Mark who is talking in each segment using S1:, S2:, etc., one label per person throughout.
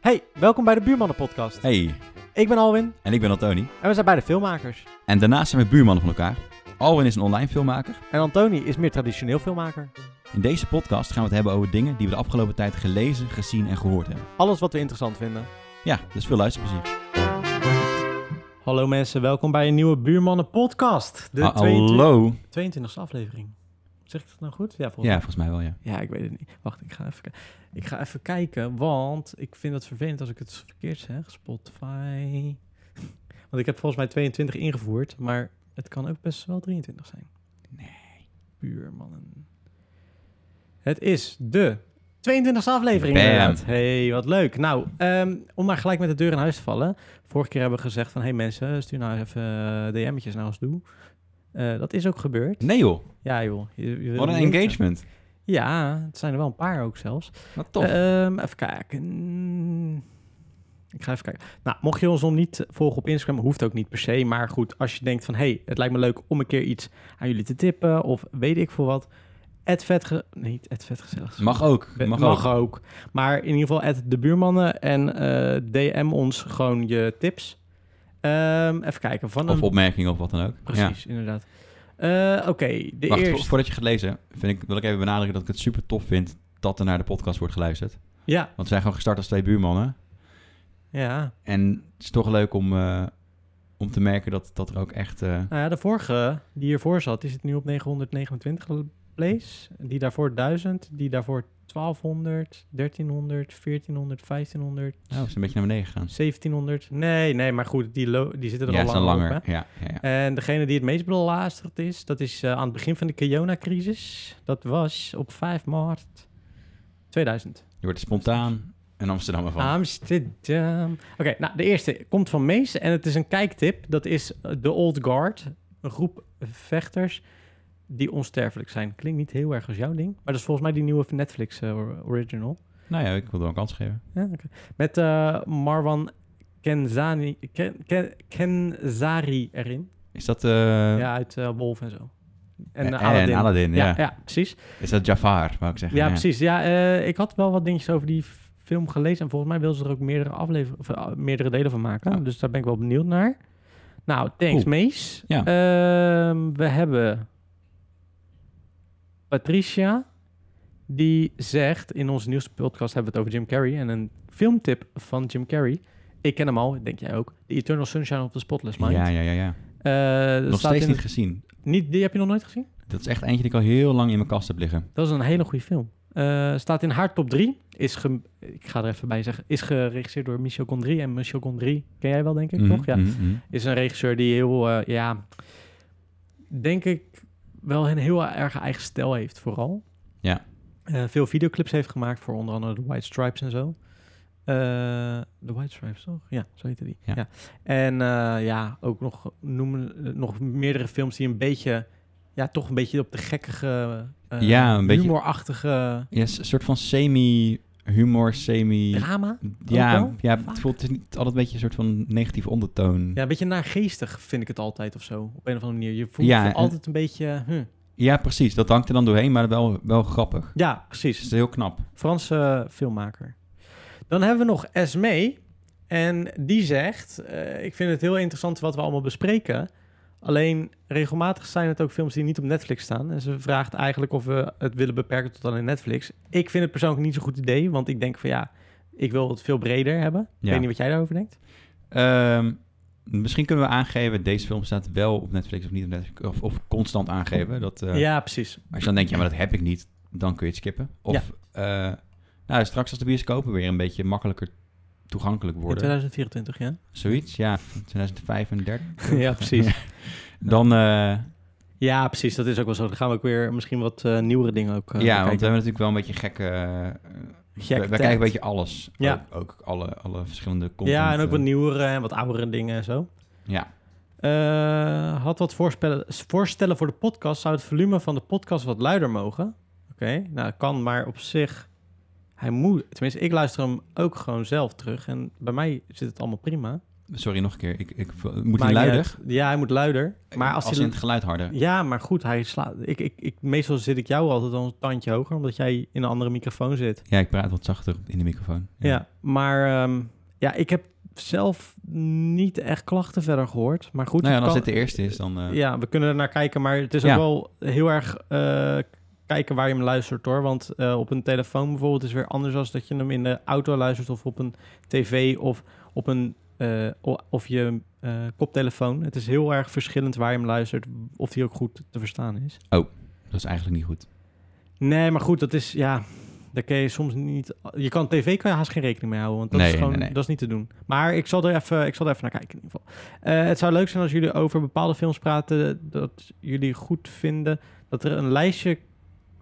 S1: Hey, welkom bij de Buurmannen Podcast.
S2: Hey,
S1: Ik ben Alwin
S2: en ik ben Antoni.
S1: en we zijn beide filmmakers.
S2: En daarnaast zijn we buurmannen van elkaar. Alwin is een online filmmaker.
S1: En Antoni is meer traditioneel filmmaker.
S2: In deze podcast gaan we het hebben over dingen die we de afgelopen tijd gelezen, gezien en gehoord hebben.
S1: Alles wat we interessant vinden.
S2: Ja, dus veel luisterplezier.
S1: Hallo mensen, welkom bij een nieuwe Buurmannen Podcast. De
S2: Ah,
S1: 22
S2: Hallo.
S1: 22e aflevering. Zeg ik dat nou goed? Ja,
S2: Ja,
S1: volgens
S2: volgens mij wel, ja.
S1: mij. Ja, ik weet het niet. Wacht, ik ga even, ki- ik ga even kijken, want ik vind het vervelend als ik het verkeerd zeg. Spotify. Want ik heb volgens mij 22 ingevoerd, maar het kan ook best wel 23 zijn. buurmannen. Het is de 22e aflevering.
S2: Bam.
S1: inderdaad. hey, wat leuk. Nou, ehm, om maar gelijk met de deur in huis te vallen. Vorige keer hebben we gezegd van... hey mensen, stuur nou even eh, DM'tjes naar ons toe. Eh, dat is ook gebeurd.
S2: Nee joh,
S1: Ja joh. Je, je wil
S2: wat een
S1: niet weten.
S2: engagement.
S1: Ja, het zijn er wel een paar ook zelfs.
S2: Wat tof.
S1: Ehm, even kijken. Ik ga even kijken. Nou, mocht je ons nog niet volgen op Instagram, hoeft ook niet per se. Maar goed, als je denkt van... hey, het lijkt me leuk om een keer iets aan jullie te tippen... of weet ik veel wat... Het vet... ge- Nee, niet het vet gezellig.
S2: mag ook,
S1: Be-
S2: mag, ook.
S1: ook. Maar in ieder geval, at de buurmannen en eh, DM ons gewoon je tips. Ehm, even kijken. Van
S2: Of
S1: een-
S2: opmerkingen of wat dan ook. Ja.
S1: Precies, inderdaad. Eh, Oké, de
S2: Wacht, vo-
S1: eerste.
S2: voordat je gaat lezen, vind ik, wil ik even benadrukken dat ik het super tof vind dat er naar de podcast wordt geluisterd.
S1: Ja,
S2: Want we zijn gewoon gestart als twee buurmannen.
S1: ja.
S2: En het is toch leuk om, eh, om te merken dat, dat er ook echt... eh,
S1: Nou ja, de vorige die hiervoor zat, die zit nu op 929 plays. Die daarvoor 1000, die daarvoor 1200, 1300, 1400, 1500,
S2: nou, is een beetje naar beneden gegaan.
S1: 1700. Nee, nee, maar goed, die, lo- die zitten er
S2: Ja,
S1: al
S2: ze zijn
S1: lang
S2: langer.
S1: langer. Op, hè?
S2: ja, ja, ja.
S1: En degene die het meest belasterd is, dat is eh, aan het begin van de coronacrisis. Dat was op 5 maart 2000.
S2: Je wordt er spontaan een Amsterdammer
S1: Ah.
S2: van.
S1: Amsterdam. Oké, nou, de eerste komt van Mees en het is een kijktip. Dat is eh, The Old Guard, een groep vechters die onsterfelijk zijn. Klinkt niet heel erg als jouw ding, maar dat is volgens mij die nieuwe Netflix eh, or- original.
S2: Nou ja, ik wil er een kans geven.
S1: Ja, oké. Met eh, Marwan Kenzani, Ken, Ken- Kenzari erin.
S2: Is dat... eh,
S1: ja, uit eh, Wolf en zo. En,
S2: en
S1: eh,
S2: Aladdin,
S1: Aladdin.
S2: ja.
S1: ja, ja, precies.
S2: Is dat Jafar, wou ik zeggen.
S1: Ja, precies. Ja, eh, ik had wel wat dingetjes over die f- film gelezen. En volgens mij wil ze er ook meerdere, aflever- of, eh, meerdere delen van maken.
S2: Ja.
S1: Dus daar ben ik wel benieuwd naar. Nou, thanks,
S2: Oh. Cool.
S1: Mees.
S2: Ja.
S1: Ehm, we hebben Patricia. Die zegt, in onze nieuwste podcast hebben we het over Jim Carrey. En een filmtip van Jim Carrey. Ik ken hem al, denk jij ook. The Eternal Sunshine of the Spotless Mind.
S2: Ja, ja, ja. ja.
S1: Eh, dat
S2: Nog
S1: staat
S2: steeds
S1: in
S2: niet gezien.
S1: het- niet. Die heb je nog nooit gezien?
S2: Dat is echt eentje die ik al heel lang in mijn kast heb liggen.
S1: Dat is een hele goede film. Eh, staat in haar top 3. Is ge- ik ga er even bij zeggen. Is geregisseerd door Michel Gondry. En Michel Gondry ken jij wel, denk ik,
S2: Mhm,
S1: toch? Ja.
S2: mhm, mhm.
S1: Is een regisseur die heel, eh, ja, denk ik, wel een heel erg eigen stijl heeft, vooral.
S2: Ja.
S1: Eh, veel videoclips heeft gemaakt voor onder andere de White Stripes en zo. Eh, De White Stripes, toch? Ja, zo heette die.
S2: Ja.
S1: En eh, ja, ook nog, noemen, eh, nog meerdere films die een beetje, ja, toch een beetje op de gekkige, eh,
S2: Ja, een beetje-
S1: humorachtige
S2: Ja, is een soort van semi-humor, semi...
S1: drama. ook
S2: Ja,
S1: wel?
S2: ja
S1: Vaak.
S2: het, voelt, het is niet altijd een beetje een soort van negatieve ondertoon.
S1: Ja, een beetje naargeestig vind ik het altijd of zo. Op een of andere manier. Je voelt
S2: Ja,
S1: je
S2: en-
S1: altijd een beetje... hm.
S2: Ja, precies. Dat hangt er dan doorheen, maar wel, wel grappig.
S1: Ja,
S2: Dus
S1: precies.
S2: het is heel knap.
S1: Franse eh, filmmaker. Dan hebben we nog Esme. En die zegt: eh, Ik vind het heel interessant wat we allemaal bespreken. Alleen regelmatig zijn het ook films die niet op Netflix staan. En ze vraagt eigenlijk of we het willen beperken tot alleen Netflix. Ik vind het persoonlijk niet zo'n goed idee, want ik denk van ja, ik wil het veel breder hebben. Ik
S2: Ja.
S1: weet niet wat jij daarover denkt.
S2: Ehm, misschien kunnen we aangeven, deze film staat wel op Netflix of niet op Netflix. Of, of constant aangeven. Dat, eh,
S1: Ja, precies.
S2: Als je dan denkt, ja, maar dat heb ik niet, dan kun je het skippen. Of eh, nou, straks als de bioscopen weer een beetje makkelijker toegankelijk
S1: In
S2: worden.
S1: 2024, ja.
S2: Zoiets, ja, 2035.
S1: ja, precies.
S2: Dan, eh,
S1: Ja, precies. Dat is ook wel zo. Dan gaan we ook weer misschien wat eh, nieuwere dingen ook eh,
S2: ja, want we
S1: bekijken.
S2: hebben natuurlijk wel een beetje gekke... eh,
S1: Gek
S2: we,
S1: tijd.
S2: we kijken een beetje alles.
S1: Ja.
S2: Ook, ook alle, alle verschillende content.
S1: Ja, en ook
S2: eh,
S1: wat nieuwere en wat oudere dingen en zo.
S2: Ja,
S1: Eh, had wat voorspellen- voorstellen voor de podcast. Zou het volume van de podcast wat luider mogen? Oké, nou kan, maar op zich... Hij moet... Tenminste, ik luister hem ook gewoon zelf terug. En bij mij zit het allemaal prima.
S2: Sorry, nog een keer. Ik, ik,
S1: Maakt
S2: moet hij
S1: niet
S2: luider? Eh,
S1: uit. Ja, hij moet luider. Maar als,
S2: als
S1: hij...
S2: in het geluid harder.
S1: Ja, maar goed, hij slaat... Ik, ik, ik, meestal zit ik jou altijd al een tandje hoger, omdat jij in een andere microfoon zit.
S2: Ja, ik praat wat zachter in de microfoon.
S1: Ja, maar ehm, ja, ik heb zelf niet echt klachten verder gehoord. Maar goed,
S2: nou ja, en
S1: het
S2: als
S1: kan-
S2: dit de eerste is, dan... eh,
S1: ja, we kunnen er naar kijken, maar het is
S2: Ja.
S1: ook wel heel erg eh, kijken waar je hem luistert hoor. Want eh, op een telefoon bijvoorbeeld is weer anders dan dat je hem in de auto luistert of op een tv of op een eh, o- of je eh, koptelefoon. Het is heel erg verschillend waar je hem luistert of die ook goed te verstaan is.
S2: Dat is eigenlijk niet goed.
S1: Nee, maar goed, dat is ja. Daar kun je soms niet. Je kan tv kan je haast geen rekening mee houden, want dat
S2: Nee,
S1: is gewoon
S2: nee, nee.
S1: dat is niet te doen. Maar ik zal er even, ik zal er even naar kijken in ieder geval. Eh, het zou leuk zijn als jullie over bepaalde films praten dat jullie goed vinden dat er een lijstje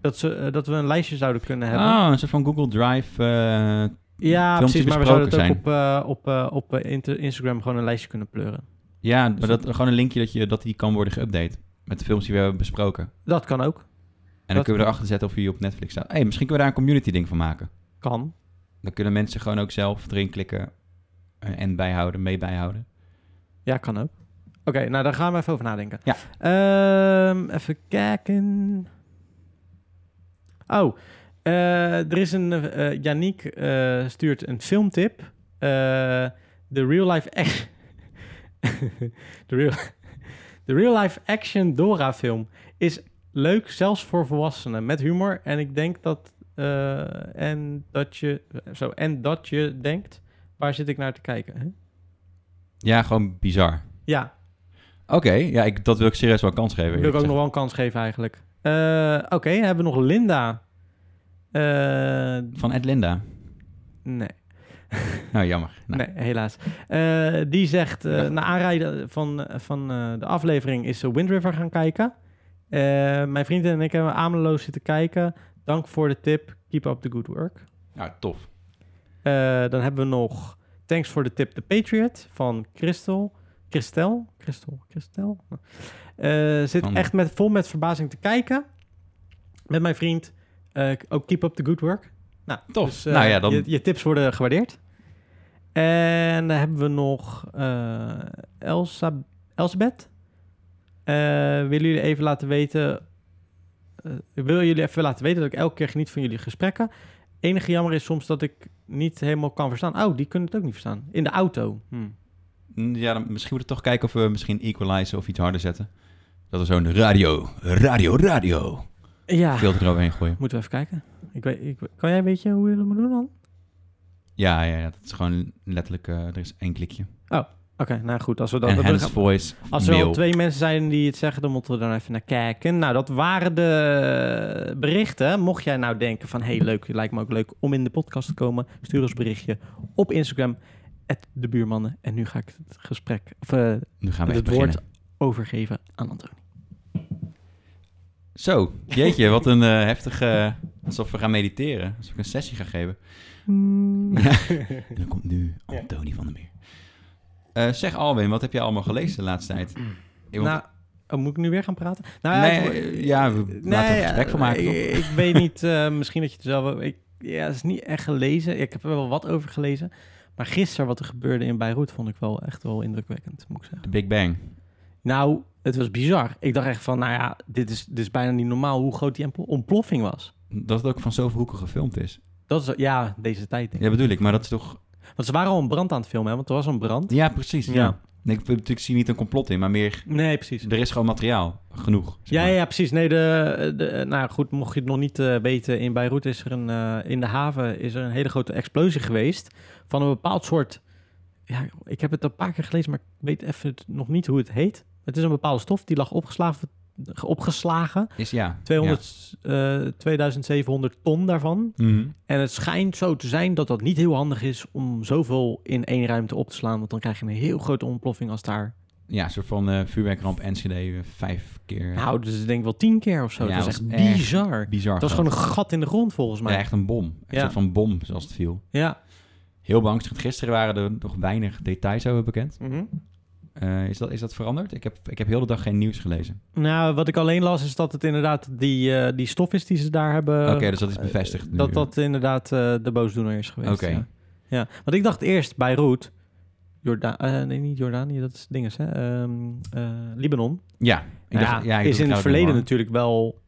S1: dat ze eh, dat we een lijstje zouden kunnen hebben.
S2: Ah, een soort van Google Drive. eh,
S1: ja,
S2: films die
S1: precies. Maar we zouden het ook
S2: besproken
S1: op, eh, op, eh, op eh, inter- Instagram gewoon een lijstje kunnen pleuren.
S2: ja, maar
S1: dat-
S2: dat, gewoon een linkje dat, je, dat die kan worden geüpdate. Met de films die we hebben besproken. En
S1: Dat kan ook.
S2: dan
S1: Dat-
S2: kunnen we erachter zetten of die op Netflix staat. hey, misschien kunnen we daar een community ding van maken.
S1: Kan.
S2: Dan kunnen mensen gewoon ook zelf erin klikken. eh, En bijhouden, mee bijhouden.
S1: Ja, kan ook. Oké, nou daar gaan we even over nadenken.
S2: Ja.
S1: Ehm, even kijken. Oh, eh, er is een. eh eh, Yannick eh, stuurt een filmtip. Eh, De real life. ac- De real, de real life action Dora film is leuk, zelfs voor volwassenen, met humor. En ik denk dat. eh, en dat je. Zo, en dat je denkt. Waar zit ik naar te kijken? Hè?
S2: Ja, gewoon bizar.
S1: Ja,
S2: Oké, ja, ik, dat wil ik serieus wel een kans geven.
S1: Wil ik
S2: eerlijk
S1: ook nog
S2: gezegd.
S1: wel een kans geven eigenlijk. Eh, Oké, dan hebben we nog Linda. Eh,
S2: Van Ed Linda.
S1: nee,
S2: Nou, jammer. Nou,
S1: nee, helaas. Eh, die zegt, eh na aanrijden van, van eh, de aflevering is eh, Wind River gaan kijken. Eh, mijn vrienden en ik hebben ameloos zitten kijken. Dank voor de tip. Keep up the good work.
S2: nou, tof.
S1: Eh, dan hebben we nog Thanks voor de tip The Patriot van Christel. Christel? Christel? Christel? Eh, zit
S2: Ander.
S1: echt met, vol met verbazing te kijken. Met mijn vriend. Eh, ook keep up the good work. Nou,
S2: Tof.
S1: dus, eh,
S2: Nou ja, dan-
S1: je, je tips worden gewaardeerd. En dan hebben we nog eh Elsa, Elsabeth. Eh, willen jullie even laten weten... eh, ik wil jullie even laten weten dat ik elke keer geniet van jullie gesprekken enige jammer is soms dat ik niet helemaal kan verstaan. Oh, die kunnen het ook niet verstaan. In de auto. Hm.
S2: Mm, Ja, dan, misschien moeten we toch kijken of we misschien equalizen of iets harder zetten. Dat we zo'n radio, radio, radio
S1: Ja,
S2: filter eroverheen gooien.
S1: moeten we even kijken. Ik weet, ik, kan jij weet je hoe je dat moet doen dan?
S2: Ja, ja, ja, dat is gewoon letterlijk, eh, er is één klikje.
S1: Oké, nou goed. Als we dat...
S2: En
S1: dat-
S2: Hans Voice,
S1: als er al
S2: mail.
S1: twee mensen zijn die het zeggen, dan moeten we er dan even naar kijken. Nou, dat waren de berichten. Mocht jij nou denken van, hey, leuk, lijkt me ook leuk om in de podcast te komen. Stuur ons berichtje op Instagram, de buurmannen. En nu ga ik het gesprek, of eh,
S2: Nu gaan we echt
S1: het
S2: beginnen.
S1: woord overgeven aan Anton.
S2: Zo, jeetje, wat een eh, heftige... Alsof we gaan mediteren. Alsof ik een sessie ga geven. En dan komt nu Antonie van der Meer. Eh, zeg Alwin, wat heb jij allemaal gelezen de laatste tijd? Ik-
S1: Nou, oh, moet ik nu weer gaan praten? Nou, ja,
S2: nee,
S1: ik-
S2: eh, ja, we laten er
S1: ja,
S2: gesprek van maken.
S1: Ik,
S2: toch?
S1: ik weet niet, eh, misschien dat je het zelf... wel- Ik, ja, het is niet echt gelezen. Ik heb er wel wat over gelezen. Maar gisteren wat er gebeurde in Beirut vond ik wel echt wel indrukwekkend, moet ik zeggen.
S2: De Big Bang.
S1: Nou, het was bizar. Ik dacht echt van, nou ja, dit is, dit is bijna niet normaal hoe groot die empl- ontploffing was.
S2: Dat het ook van zoveel hoeken gefilmd is.
S1: Dat is, ja, deze tijd denk ik.
S2: Ja, bedoel ik, maar dat is toch...
S1: Want ze waren al een brand aan het filmen, hè, want er was een brand.
S2: Ja, precies. Ja.
S1: Ja.
S2: Ik, ik, zie niet een complot in, maar meer...
S1: Nee, precies.
S2: Er is gewoon materiaal. Genoeg. zeg
S1: Ja,
S2: maar.
S1: ja, precies. Nee, de, de, nou goed, mocht je het nog niet eh, weten, in Beirut is er een, eh, in de haven is er een hele grote explosie geweest van een bepaald soort. Ja, ik heb het een paar keer gelezen, maar ik weet even het- nog niet hoe het heet. Het is een bepaalde stof die lag opgeslagen, opgeslagen
S2: Is, ja.
S1: 200, eh, 2700 ton daarvan.
S2: Ja. Mhm.
S1: En het schijnt zo te zijn dat dat niet heel handig is om zoveel in één ruimte op te slaan, want dan krijg je een heel grote ontploffing als daar.
S2: Ja, een soort van eh, vuurwerkramp Enschede eh, vijf keer.
S1: Nou, dus ik denk wel tien keer of zo.
S2: Ja,
S1: dat is echt
S2: dat was echt
S1: bizar.
S2: bizar.
S1: Het was gewoon
S2: groot.
S1: een gat in de grond volgens mij.
S2: Ja, echt een bom. Echt
S1: Ja.
S2: Een soort van bom, zoals het viel.
S1: Ja.
S2: Heel beangstigend. Gisteren waren er nog weinig details over bekend. Eh, is, dat, is dat veranderd? Ik heb, ik heb heel de dag geen nieuws gelezen.
S1: Nou, wat ik alleen las is dat het inderdaad die, eh, die stof is die ze daar hebben.
S2: Oké, dus dat is bevestigd nu.
S1: eh, Dat dat inderdaad eh, de boosdoener is geweest.
S2: Oké.
S1: Ja. ja, want ik dacht eerst Beirut. Jorda eh, nee, niet Jordanië, dat is dinges, hè? Ehm, eh, Libanon.
S2: Ja, ik dacht-
S1: Nou
S2: ja,
S1: is
S2: ik dacht
S1: in het
S2: trouwens
S1: verleden
S2: nog wel.
S1: natuurlijk wel...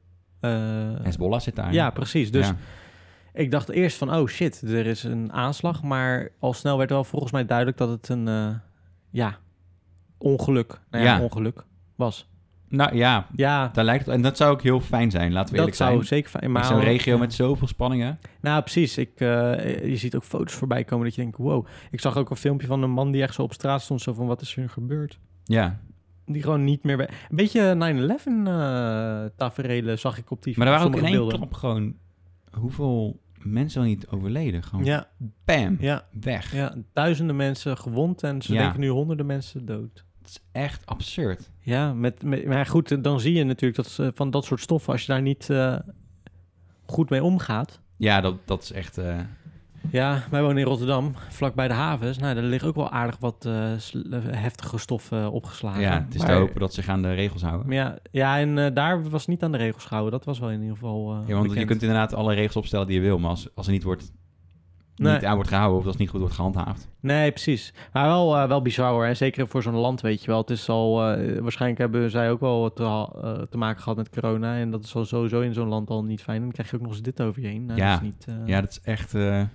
S1: eh,
S2: Hezbollah zit daar.
S1: ja, precies. Dus
S2: Ja.
S1: ik dacht eerst van, oh shit, er is een aanslag. Maar al snel werd wel volgens mij duidelijk dat het een, eh, ja, ongeluk, nou ja,
S2: Ja.
S1: ongeluk was.
S2: Nou ja,
S1: Ja,
S2: daar lijkt het, en dat zou ook heel fijn zijn, laten we
S1: dat
S2: eerlijk
S1: zou
S2: zijn.
S1: zeker... fijn-
S2: In
S1: maar-
S2: zo'n regio
S1: ja.
S2: met zoveel spanningen.
S1: Nou, precies. Ik, eh, je ziet ook foto's voorbij komen dat je denkt, wow. Ik zag ook een filmpje van een man die echt zo op straat stond, zo van, wat is er gebeurd?
S2: Ja,
S1: Die gewoon niet meer... bij- Een beetje 9-11 eh tafereelen zag ik op die
S2: maar er waren ook in
S1: sommige
S2: één
S1: beelden.
S2: klap gewoon hoeveel mensen al niet overleden. Gewoon
S1: Ja,
S2: bam,
S1: ja,
S2: weg.
S1: ja, duizenden mensen gewond en ze
S2: Ja.
S1: denken nu honderden mensen dood.
S2: Het is echt absurd.
S1: Ja, met, met, maar goed, dan zie je natuurlijk dat ze van dat soort stoffen, als je daar niet eh, goed mee omgaat.
S2: Ja, dat, dat is echt... eh,
S1: Ja, wij wonen in Rotterdam, vlakbij de havens. Nou, daar liggen ook wel aardig wat eh, sl- heftige stoffen opgeslagen.
S2: ja, het is te
S1: Ah, Maar-
S2: hopen dat ze gaan de regels houden.
S1: Maar Ja, ja, en eh, daar was niet aan de regels gehouden. Dat was wel in ieder geval. eh
S2: Ja, want je
S1: bekend.
S2: kunt inderdaad alle regels opstellen die je wil, maar als, als er niet, wordt,
S1: Nee.
S2: niet aan wordt gehouden of als het niet goed wordt gehandhaafd.
S1: Nee, precies. Maar wel, eh, wel bizar hoor. En zeker voor zo'n land, weet je wel. Het is al, eh, waarschijnlijk hebben zij ook wel te, ha- eh, te maken gehad met corona. En dat is al sowieso in zo'n land al niet fijn. En dan krijg je ook nog eens dit over je heen. Nou,
S2: Ja.
S1: dat is niet, eh,
S2: Ja, dat is echt eh, het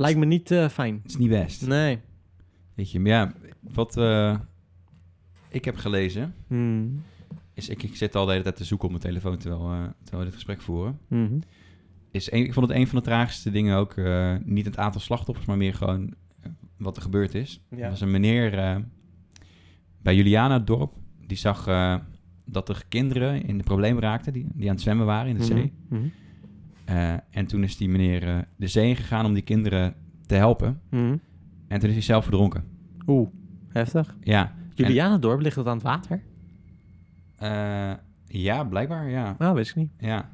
S1: Lijkt me niet eh, fijn.
S2: is niet best.
S1: Nee.
S2: Weet je, maar ja, wat eh, ik heb gelezen,
S1: Hmm.
S2: is ik, ik zit al de hele tijd te zoeken op mijn telefoon terwijl, eh, terwijl we dit gesprek voeren.
S1: Mhm.
S2: Is een, ik vond het een van de tragische dingen ook, eh, niet het aantal slachtoffers, maar meer gewoon eh, wat er gebeurd is.
S1: Ja.
S2: Er was een meneer eh, bij Juliana het dorp, die zag eh, dat er kinderen in de probleem raakten, die, die aan het zwemmen waren in de zee.
S1: Mhm. Mhm.
S2: Eh, en toen is die meneer eh, de zee ingegaan om die kinderen te helpen.
S1: Mhm.
S2: En toen is hij zelf verdronken.
S1: Oeh, heftig.
S2: Ja,
S1: Julianendorp ligt dat aan het water?
S2: Eh, ja blijkbaar, ja.
S1: Nou, wist ik niet.
S2: ja.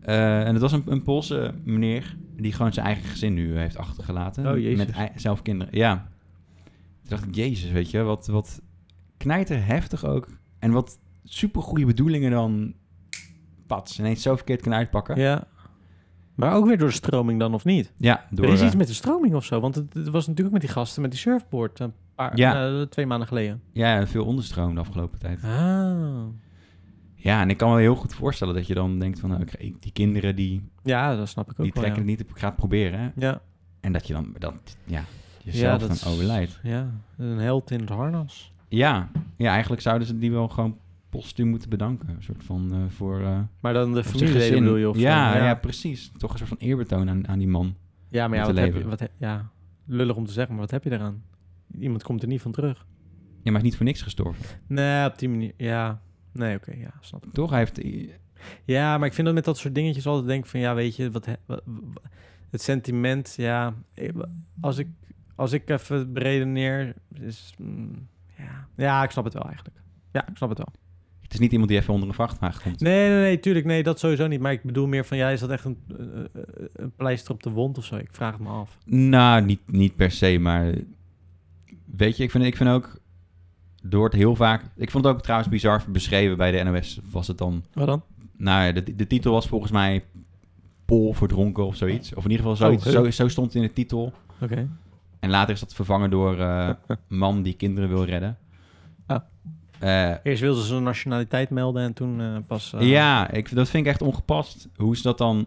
S2: Eh, en het was een, een Poolse meneer die gewoon zijn eigen gezin nu heeft achtergelaten.
S1: Oh, Jezus.
S2: Met ei- zelf kinderen, ja. Toen dacht ik, jezus, weet je, wat, wat knijter heftig ook. En wat supergoeie bedoelingen dan, pats, ineens zo verkeerd kunnen uitpakken. Ja,
S1: Ja. Maar ook weer door de stroming dan, of niet?
S2: door...
S1: er is
S2: eh,
S1: iets met de stroming of zo. Want het, het was natuurlijk ook met die gasten met die surfboard een paar,
S2: Ja.
S1: eh, twee maanden geleden.
S2: ja, veel onderstroom de afgelopen tijd.
S1: Ah.
S2: Ja, en ik kan me heel goed voorstellen dat je dan denkt van... nou, ik- ik- die kinderen die,
S1: Ja, dat snap ik ook
S2: die
S1: wel.
S2: trekken het niet, op, ik ga het proberen. Hè?
S1: ja.
S2: En dat je dan, dan ja, jezelf
S1: dat
S2: dan
S1: is-
S2: overlijdt.
S1: Ja, ja, een held in het harnas.
S2: Ja. ja, eigenlijk zouden ze die wel gewoon postuum moeten bedanken. Een soort van eh, voor... eh
S1: Maar dan de
S2: voor
S1: familieleden
S2: gezin.
S1: bedoel je? Of zo.
S2: ja, ja.
S1: ja.
S2: precies. Toch een soort van eerbetoon aan, aan die man.
S1: Ja, maar ja,
S2: Om te
S1: wat heb je,
S2: leven.
S1: wat he- ja, lullig om te zeggen, maar wat heb je eraan? Iemand komt er niet van terug.
S2: Ja, maar hij is niet voor niks gestorven.
S1: Nee, op die manier. Ja, nee, oké, ja, snap ik.
S2: Toch? Hij heeft...
S1: Ja, maar ik vind dat met dat soort dingetjes altijd denk ik van, ja, weet je, wat, he- wa- wa- het sentiment, ja, ik- als ik, als ik even beredeneer, is, mm, ja. ja, ik snap het wel eigenlijk. Ja, ik snap het wel.
S2: Het is niet iemand die even onder een vrachtwagen komt.
S1: Nee, nee, nee, tuurlijk, nee, dat sowieso niet. Maar ik bedoel meer van, ja, is dat echt een, eh, eh, een pleister op de wond of zo? Ik vraag het me af.
S2: Nou, niet, niet per se, maar... Weet je, ik vind, ik vind ook... Door het heel vaak... Ik vond het ook trouwens bizar beschreven bij de NOS. Was het dan...
S1: Wat dan?
S2: Nou ja, de, de titel was volgens mij... Pol verdronken of zoiets. Of in ieder geval zoiets.
S1: Oh, huh.
S2: zo, zo stond het in de titel.
S1: Oké.
S2: En later is dat vervangen door eh, man die kinderen wil redden.
S1: Ah.
S2: Eh,
S1: Eerst wilden ze hun nationaliteit melden en toen eh, pas... eh,
S2: ja, ik, dat vind ik echt ongepast. Hoe is dat dan?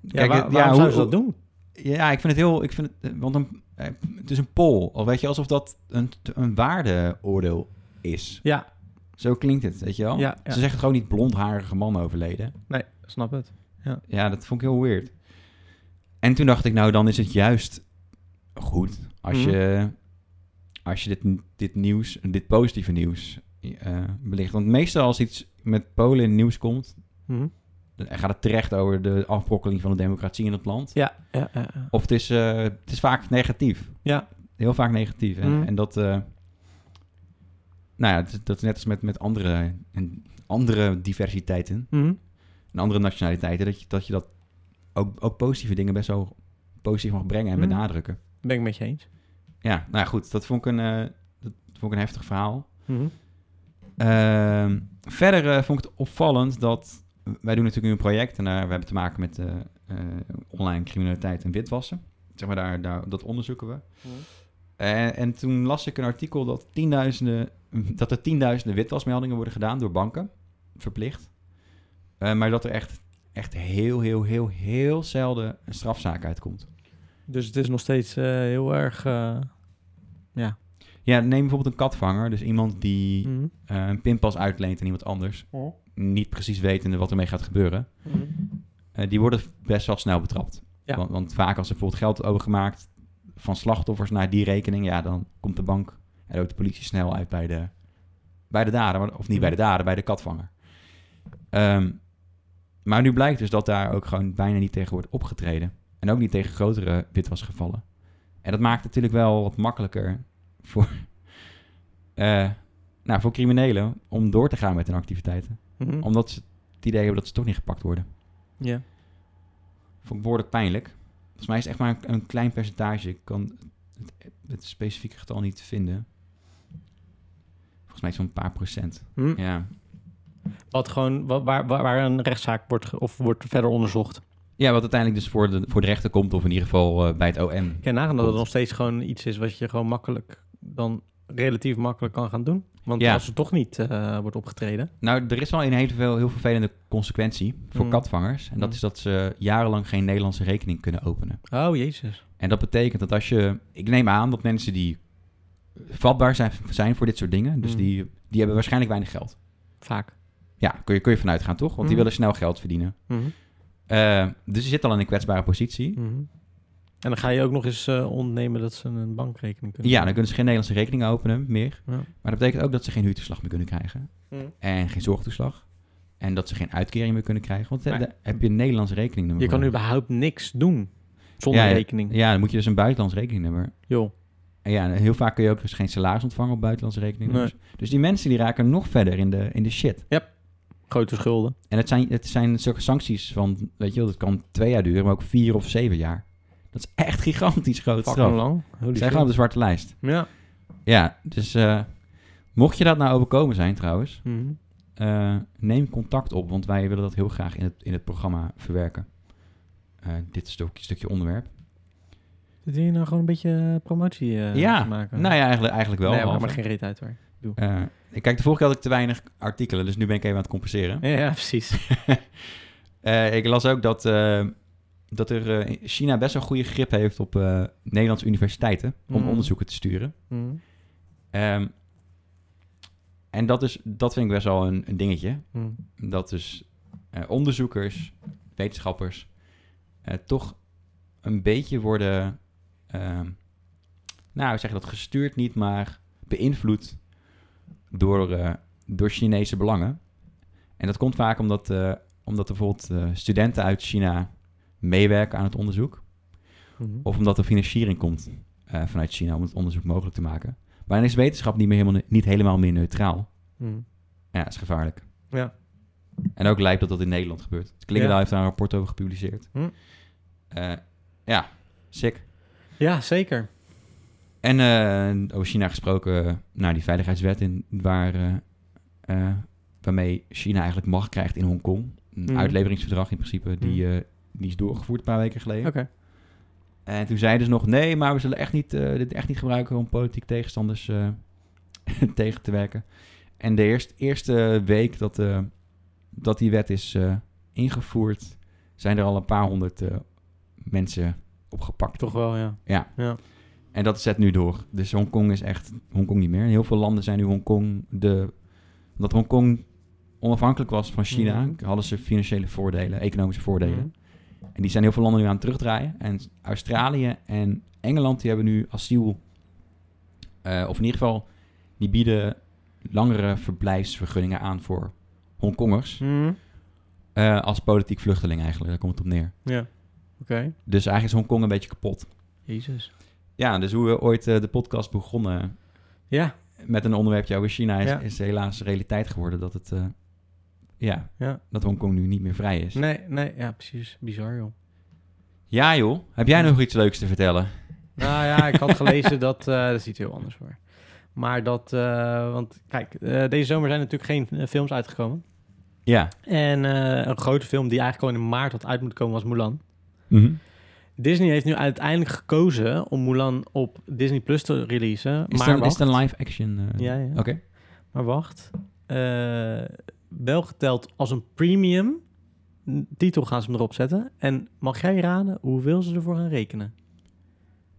S1: ja,
S2: Kijk,
S1: waar-
S2: ja,
S1: waarom zouden ze dat doen?
S2: Ja, ik vind het heel... Ik vind het, eh, want een, eh, het is een poll. Al weet je, alsof dat een, een waardeoordeel is.
S1: Ja,
S2: Zo klinkt het, weet je wel?
S1: ja, ja.
S2: Ze zeggen gewoon niet blondharige man overleden.
S1: nee, snap het.
S2: Ja, dat vond ik heel weird. En toen dacht ik, nou, dan is het juist goed als
S1: Mhm.
S2: je, als je dit, dit nieuws, dit positieve nieuws eh, belicht. Want meestal als iets met Polen in het nieuws komt,
S1: Mhm.
S2: dan gaat het terecht over de afbrokkeling van de democratie in het land.
S1: Ja, ja, ja, ja.
S2: Of het is, eh, het is vaak negatief.
S1: Ja.
S2: Heel vaak negatief. En,
S1: Mhm.
S2: en dat, eh, nou ja, dat, is- dat is net als met, met andere, en andere diversiteiten
S1: Mhm.
S2: en andere nationaliteiten, dat je dat, je dat ook, ook positieve dingen best wel positief mag brengen en
S1: Hmm.
S2: benadrukken.
S1: Ben ik met je eens.
S2: Ja, nou ja, goed, dat vond ik een, eh, dat vond ik een heftig verhaal.
S1: Mhm.
S2: Ehm, verder eh, vond ik het opvallend dat wij doen natuurlijk nu een project en eh, we hebben te maken met eh, eh, online criminaliteit en witwassen. Zeg maar, daar, daar, dat onderzoeken we. En, en toen las ik een artikel dat, tienduizenden, dat er tienduizenden witwasmeldingen worden gedaan door banken, verplicht. Eh, maar dat er echt, echt heel, heel, heel, heel zelden een strafzaak uitkomt.
S1: Dus het is nog steeds eh, heel erg... eh,
S2: Ja, neem bijvoorbeeld een katvanger. Dus iemand
S1: Hm.
S2: die eh, een pinpas uitleent aan iemand anders.
S1: Mhm.
S2: Niet precies wetende wat ermee gaat gebeuren. Eh, die worden best wel snel betrapt.
S1: Ja.
S2: Want, want vaak als er bijvoorbeeld geld overgemaakt van slachtoffers naar die rekening, ja, dan komt de bank en ook de politie snel uit bij de, bij de dader. maar-
S1: Mhm.
S2: Of niet bij de dader, bij de katvanger. Ehm, maar nu blijkt dus dat daar ook gewoon bijna niet tegen wordt opgetreden. En ook niet tegen grotere witwasgevallen. En dat maakt het natuurlijk wel wat makkelijker voor, eh, nou, voor criminelen om door te gaan met hun activiteiten.
S1: Mhm.
S2: Omdat ze het idee hebben dat ze toch niet gepakt worden.
S1: Ja.
S2: Vond ik behoorlijk pijnlijk. Volgens mij is het echt maar een, een klein percentage. Ik kan het, het specifieke getal niet vinden. Volgens mij is het zo'n paar procent.
S1: Mhm.
S2: Ja.
S1: Wat gewoon, wa- waar, waar, waar een rechtszaak wordt, ge- of wordt verder onderzocht.
S2: ja, wat uiteindelijk dus voor de, voor de rechter komt, of in ieder geval eh, bij het OM.
S1: Ik ken nagaan dat het
S2: Klopt.
S1: nog steeds gewoon iets is wat je gewoon makkelijk, dan relatief makkelijk kan gaan doen. Want
S2: Ja.
S1: als er toch niet eh, wordt opgetreden.
S2: Nou, er is wel een heel, veel, heel vervelende consequentie voor
S1: Mm.
S2: katvangers. En dat
S1: Mm.
S2: is dat ze jarenlang geen Nederlandse rekening kunnen openen.
S1: Oh, jezus.
S2: En dat betekent dat als je... Ik neem aan dat mensen die vatbaar zijn, zijn voor dit soort dingen... dus
S1: Mm.
S2: die, die hebben waarschijnlijk weinig geld.
S1: Vaak.
S2: Ja, kun je, kun je vanuit gaan, toch? Want
S1: Mm.
S2: die willen snel geld verdienen.
S1: Mhm.
S2: Eh, dus je zit al in een kwetsbare positie.
S1: Mhm. En dan ga je ook nog eens eh, ontnemen dat ze een bankrekening kunnen.
S2: Ja, dan kunnen ze geen Nederlandse rekening openen meer.
S1: Ja.
S2: Maar dat betekent ook dat ze geen huurtoeslag meer kunnen krijgen.
S1: Mm.
S2: En geen zorgtoeslag. En dat ze geen uitkering meer kunnen krijgen. Want eh,
S1: Maar-
S2: daar heb je een Nederlands rekeningnummer.
S1: Je kan
S2: voor
S1: überhaupt niks doen zonder
S2: Ja, ja.
S1: rekening.
S2: nodig. Ja, dan moet je dus een buitenlands rekeningnummer.
S1: Joh.
S2: En ja, heel vaak kun je ook dus geen salaris ontvangen op buitenlandse rekeningnummers. Dus die mensen die raken nog verder in de, in de shit.
S1: Grote schulden.
S2: En het zijn, het zijn zulke sancties van, weet je wel, dat kan twee jaar duren, maar ook vier of zeven jaar. Dat is echt gigantisch groot
S1: Fucking
S2: straf.
S1: lang. Holy
S2: Ze
S1: shit.
S2: zijn gewoon op de zwarte lijst.
S1: Ja.
S2: Ja, dus eh, mocht je dat nou overkomen zijn trouwens,
S1: Mhm.
S2: eh, neem contact op, want wij willen dat heel graag in het, in het programma verwerken. Eh, dit stuk- stukje onderwerp.
S1: Eh, Zit hier nou gewoon een beetje eh, promotie eh,
S2: ja,
S1: te maken?
S2: nou ja, eigenlijk, eigenlijk wel.
S1: Nee, maar,
S2: halve.
S1: maar geen reet uit hoor.
S2: Eh, ik kijk, de vorige keer had ik te weinig artikelen, dus nu ben ik even aan het compenseren.
S1: Ja, ja, precies.
S2: Eh, ik las ook dat, eh, dat er, eh, in China best wel goede grip heeft op eh, Nederlandse universiteiten om
S1: Mhm.
S2: onderzoeken te sturen.
S1: Mhm.
S2: Ehm, en dat, is, dat vind ik best wel een, een dingetje.
S1: Mhm.
S2: dat dus eh, onderzoekers, wetenschappers, eh, toch een beetje worden, ehm, nou, hoe zeg je dat, gestuurd niet, maar beïnvloed door, eh, door Chinese belangen. En dat komt vaak omdat, eh, omdat er bijvoorbeeld eh, studenten uit China meewerken aan het onderzoek.
S1: Mhm.
S2: Of omdat er financiering komt eh, vanuit China om het onderzoek mogelijk te maken. Maar dan is wetenschap niet, meer helemaal, niet helemaal meer neutraal.
S1: Mhm.
S2: Ja, dat is gevaarlijk.
S1: Ja.
S2: En ook lijkt dat dat in Nederland gebeurt. Het Klingendaal
S1: Ja.
S2: heeft daar een rapport over gepubliceerd.
S1: Hm.
S2: Eh, ja, sick.
S1: ja, zeker.
S2: En eh, over China gesproken, eh, nou die veiligheidswet in, waar, eh, eh, waarmee China eigenlijk macht krijgt in Hongkong. Een
S1: Mhm.
S2: uitleveringsverdrag in principe, die, eh, die is doorgevoerd een paar weken geleden.
S1: Hm. Oké.
S2: En toen zeiden ze nog, nee, maar we zullen echt niet, eh, dit echt niet gebruiken om politiek tegenstanders eh, tegen te werken. En de eerst, eerste week dat, eh, dat die wet is eh, ingevoerd, zijn er al een paar honderd eh, mensen opgepakt.
S1: Toch wel, ja.
S2: En dat zet nu door. Dus Hongkong is echt Hongkong niet meer. In heel veel landen zijn nu Hongkong de... Omdat Hongkong onafhankelijk was van China,
S1: Mhm.
S2: hadden ze financiële voordelen, economische voordelen. En die zijn heel veel landen nu aan het terugdraaien. En Australië en Engeland die hebben nu asiel. eh, of in ieder geval, die bieden langere verblijfsvergunningen aan voor Hongkongers.
S1: Mhm.
S2: eh, als politiek vluchteling eigenlijk, daar komt het op neer.
S1: Ja. Oké.
S2: Dus eigenlijk is Hongkong een beetje kapot.
S1: Jezus.
S2: Ja, dus hoe we ooit eh, de podcast begonnen
S1: Ja.
S2: met een onderwerpje over China... is,
S1: Ja.
S2: is helaas realiteit geworden dat het... eh, ja,
S1: Ja.
S2: dat Hongkong nu niet meer vrij is.
S1: Nee, nee. Ja, precies. Bizar, joh.
S2: Ja joh, heb jij nog iets leuks te vertellen?
S1: Nou ja, ik had gelezen dat... eh, dat is iets heel anders hoor. Maar dat... eh, want kijk, eh, deze zomer zijn natuurlijk geen eh, films uitgekomen.
S2: Ja.
S1: En eh, een grote film die eigenlijk al in maart had uit moeten komen was Mulan. Disney heeft nu uiteindelijk gekozen om Mulan op Disney Plus te releasen.
S2: Is,
S1: maar
S2: dan, is
S1: wacht.
S2: het een live action? eh,
S1: Ja, ja.
S2: Oké.
S1: Maar wacht. Eh, wel geteld als een premium titel gaan ze hem erop zetten. En mag jij raden hoeveel ze ervoor gaan rekenen?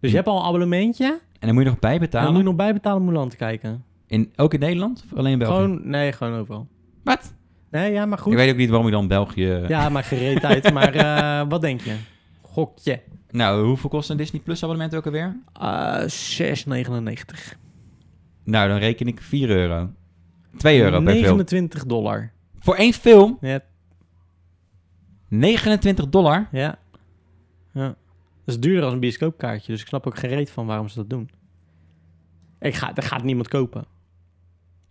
S1: Dus
S2: Hm.
S1: je hebt al een abonnementje.
S2: En dan moet je nog
S1: En
S2: bijbetalen?
S1: dan moet je nog bijbetalen om Mulan te kijken.
S2: in, ook in Nederland of alleen in België?
S1: Gewoon, nee, gewoon overal.
S2: Wat?
S1: Nee, ja, maar goed.
S2: Ik weet ook niet waarom je dan België...
S1: Ja, maar gereed uit. maar eh, wat denk je? Gokje.
S2: Nou, hoeveel kost een Disney Plus abonnement ook alweer?
S1: Eh 6,99.
S2: Nou, dan reken ik 4 euro. 2 euro per film.
S1: 29 dollar.
S2: Voor één film
S1: Ja,
S2: 29 dollar.
S1: Ja. ja. Dat is duurder als een bioscoopkaartje, dus ik snap ook geen reet van waarom ze dat doen. Ik ga, dat gaat niemand kopen.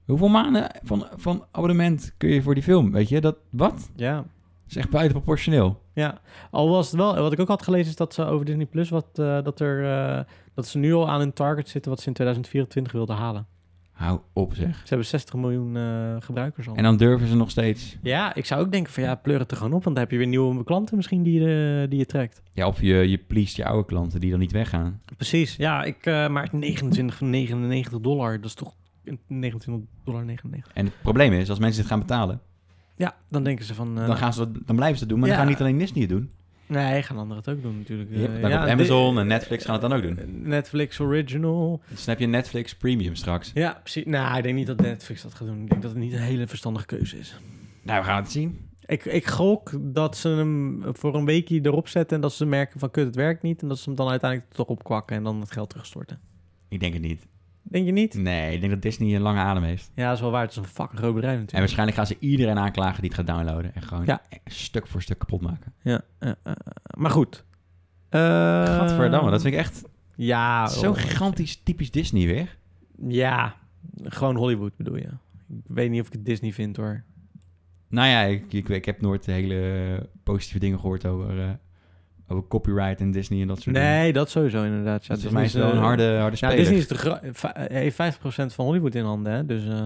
S2: Hoeveel maanden van, van abonnement kun je voor die film? Weet je, dat, wat?
S1: Ja.
S2: Dat is echt buiten proportioneel.
S1: Ja. Al was het wel, wat ik ook had gelezen is dat ze over Disney Plus, wat, eh, dat, er, eh, dat ze nu al aan hun target zitten wat ze in 2024 wilden halen.
S2: Hou op zeg.
S1: Ze hebben 60 miljoen eh, gebruikers al.
S2: En dan durven ze nog steeds.
S1: Ja, ik zou ook denken van ja, pleur het er gewoon op, want dan heb je weer nieuwe klanten misschien die, je, eh, die je trekt.
S2: Ja, of je, je pleest je oude klanten die dan niet weggaan.
S1: Precies, ja, ik, eh maar 29,99 dollar, dat is toch 29,99 dollar.
S2: En het probleem is, als mensen dit gaan betalen,
S1: Ja, dan denken ze van... eh,
S2: dan, gaan ze dat, dan blijven ze het doen. Maar
S1: Ja.
S2: dan gaan niet alleen Disney het doen.
S1: Nee, gaan anderen het ook doen natuurlijk.
S2: Je hebt
S1: Eh,
S2: het ook op
S1: di-
S2: Amazon en Netflix gaan het dan ook doen.
S1: Netflix Original.
S2: Dus dan heb je Netflix Premium straks.
S1: Ja, precies. Nou, ik denk niet dat Netflix dat gaat doen. Ik denk dat het niet een hele verstandige keuze is.
S2: Nou, we gaan het zien.
S1: Ik, ik gok dat ze hem voor een weekje erop zetten... en dat ze merken van kut, het werkt niet... en dat ze hem dan uiteindelijk toch opkwakken en dan het geld terugstorten.
S2: Ik denk het niet.
S1: Denk je niet?
S2: Nee, ik denk dat Disney een lange adem heeft.
S1: Ja, dat is wel waar. Het is een fucking groot bedrijf
S2: En
S1: natuurlijk.
S2: waarschijnlijk gaan ze iedereen aanklagen die het gaat downloaden. En gewoon
S1: Ja.
S2: stuk voor stuk kapot maken.
S1: Ja, eh, eh, eh, maar goed. Uh,
S2: Gadverdamme, dat vind ik echt
S1: Ja.
S2: zo
S1: oh.
S2: gigantisch typisch Disney weer.
S1: Ja, gewoon Hollywood bedoel je. Ik weet niet of ik het Disney vind hoor.
S2: Nou ja, ik, ik, ik heb nooit hele positieve dingen gehoord over, eh, over copyright en Disney en dat soort dingen.
S1: Nee, dat sowieso inderdaad. Ja,
S2: Dus volgens mij is het wel
S1: eh,
S2: een harde, harde
S1: Ja,
S2: speler.
S1: Disney is de gro- va- heeft 50% van Hollywood in handen, hè? Dus eh,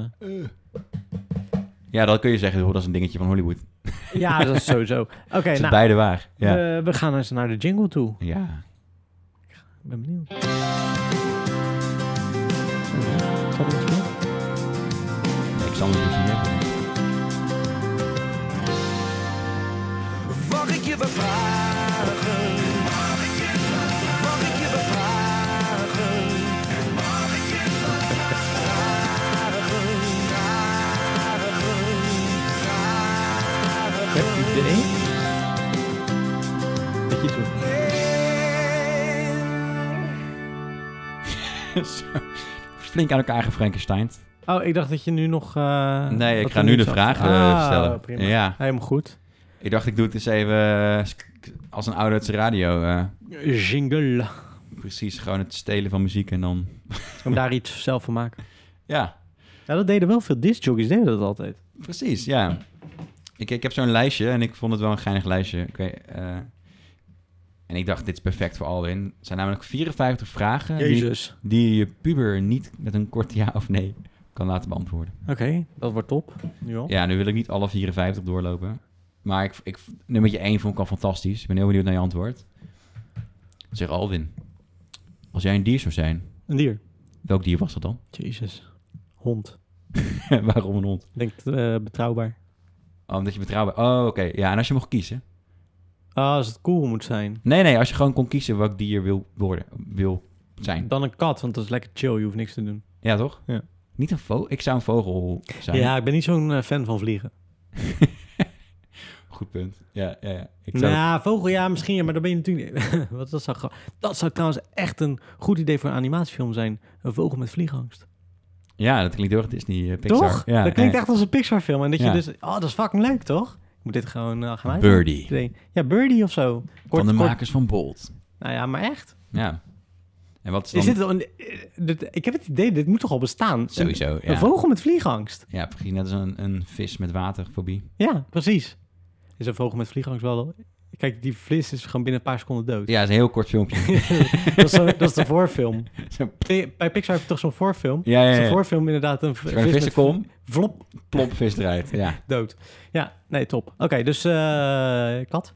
S2: Ja, dat kun je zeggen. hoor, dat is een dingetje van Hollywood. Dat
S1: ja, dat is sowieso. Oké,
S2: is het
S1: nou,
S2: beide waar. Ja.
S1: eh, we gaan eens naar de jingle toe.
S2: ja.
S1: Ik ben benieuwd. Zal ik het doen?
S2: Ik zal het niet meer.
S3: Mag ik je wat vragen? Mag ik je wat vragen?
S1: Ik heb het idee dat je iets hoort.
S2: Zo. Flink aan elkaar gefrankensteind.
S1: Oh, ik dacht dat je nu nog... eh,
S2: Nee, ik
S1: dat
S2: ga
S1: er
S2: nu de
S1: iets
S2: vragen
S1: achter-
S2: eh,
S1: Ah,
S2: stellen.
S1: prima.
S2: Ja,
S1: Helemaal goed.
S2: ik dacht ik doe het eens even eh, als een ouderwetse radio. eh,
S1: Jingle.
S2: precies, gewoon het stelen van muziek en dan...
S1: Om daar iets zelf van maken.
S2: Ja,
S1: Ja, dat deden wel veel discjockeys, deden dat altijd.
S2: precies, ja. Ik, ik heb zo'n lijstje en ik vond het wel een geinig lijstje. Ik weet, eh, en ik dacht, dit is perfect voor Alwin. Het zijn namelijk 54 vragen die,
S1: Jezus.
S2: die je puber niet met een kort ja of nee kan laten beantwoorden.
S1: Oké, dat wordt top. Nu al.
S2: Ja, nu wil ik niet alle 54 doorlopen. Maar ik, ik, nummertje 1 vond ik al fantastisch. Ik ben heel benieuwd naar je antwoord. Zeg Alwin, als jij een dier zou zijn,
S1: Een dier.
S2: welk dier was dat dan?
S1: Jezus. Hond.
S2: Waarom een hond?
S1: Denk eh, betrouwbaar.
S2: Oh, omdat je betrouwbaar... Oh, oké. Ja, en als je mocht kiezen?
S1: Ah, als het cool moet zijn.
S2: Nee, nee, als je gewoon kon kiezen welk dier wil worden, wil zijn.
S1: Dan een kat, want dat is lekker chill. Je hoeft niks te doen.
S2: Ja, toch?
S1: Ja.
S2: Niet een vogel. Ik zou een vogel zijn.
S1: Ja, ik ben niet zo'n eh, fan van vliegen.
S2: Goed punt. Ja, ja, ja. Ik zou...
S1: Nou, vogel ja, misschien. ja, Maar dan ben je natuurlijk... Wat, dat, zou, gra- dat zou trouwens echt een goed idee voor een animatiefilm zijn. Een vogel met vliegangst.
S2: ja, dat klinkt heel erg Disney, eh, Pixar.
S1: Toch?
S2: Ja,
S1: dat klinkt
S2: ja.
S1: echt als een Pixar film. En dat je
S2: Ja.
S1: dus... Oh, dat is fucking leuk, toch? Ik moet dit gewoon eh, gaan uit.
S2: Birdie.
S1: Ja, Birdie of zo.
S2: Van de
S1: kort.
S2: makers van Bolt.
S1: Nou ja, maar echt.
S2: Ja. En wat is dan...
S1: Is dit, een- eh, dit- ik heb het idee, dit moet toch al bestaan? Een-
S2: Sowieso,
S1: Een
S2: ja.
S1: vogel met vliegangst.
S2: Ja, precies net als een, een vis met waterfobie.
S1: Ja, precies. Is een vogel met vliegangst wel... Kijk, die vlis is gewoon binnen een paar seconden dood.
S2: Ja, dat is een heel kort filmpje.
S1: dat, is zo- dat is de voorfilm.
S2: Zo'n-
S1: Bij bij Pixar heb je toch zo'n voorfilm?
S2: ja, ja,
S1: Zo'n
S2: ja.
S1: voorfilm inderdaad een v-
S2: Zo'n
S1: vis met
S2: vissenkom,
S1: vlop
S2: plop, vis eruit. Ja.
S1: dood. Ja, nee, top. Oké, dus eh, kat.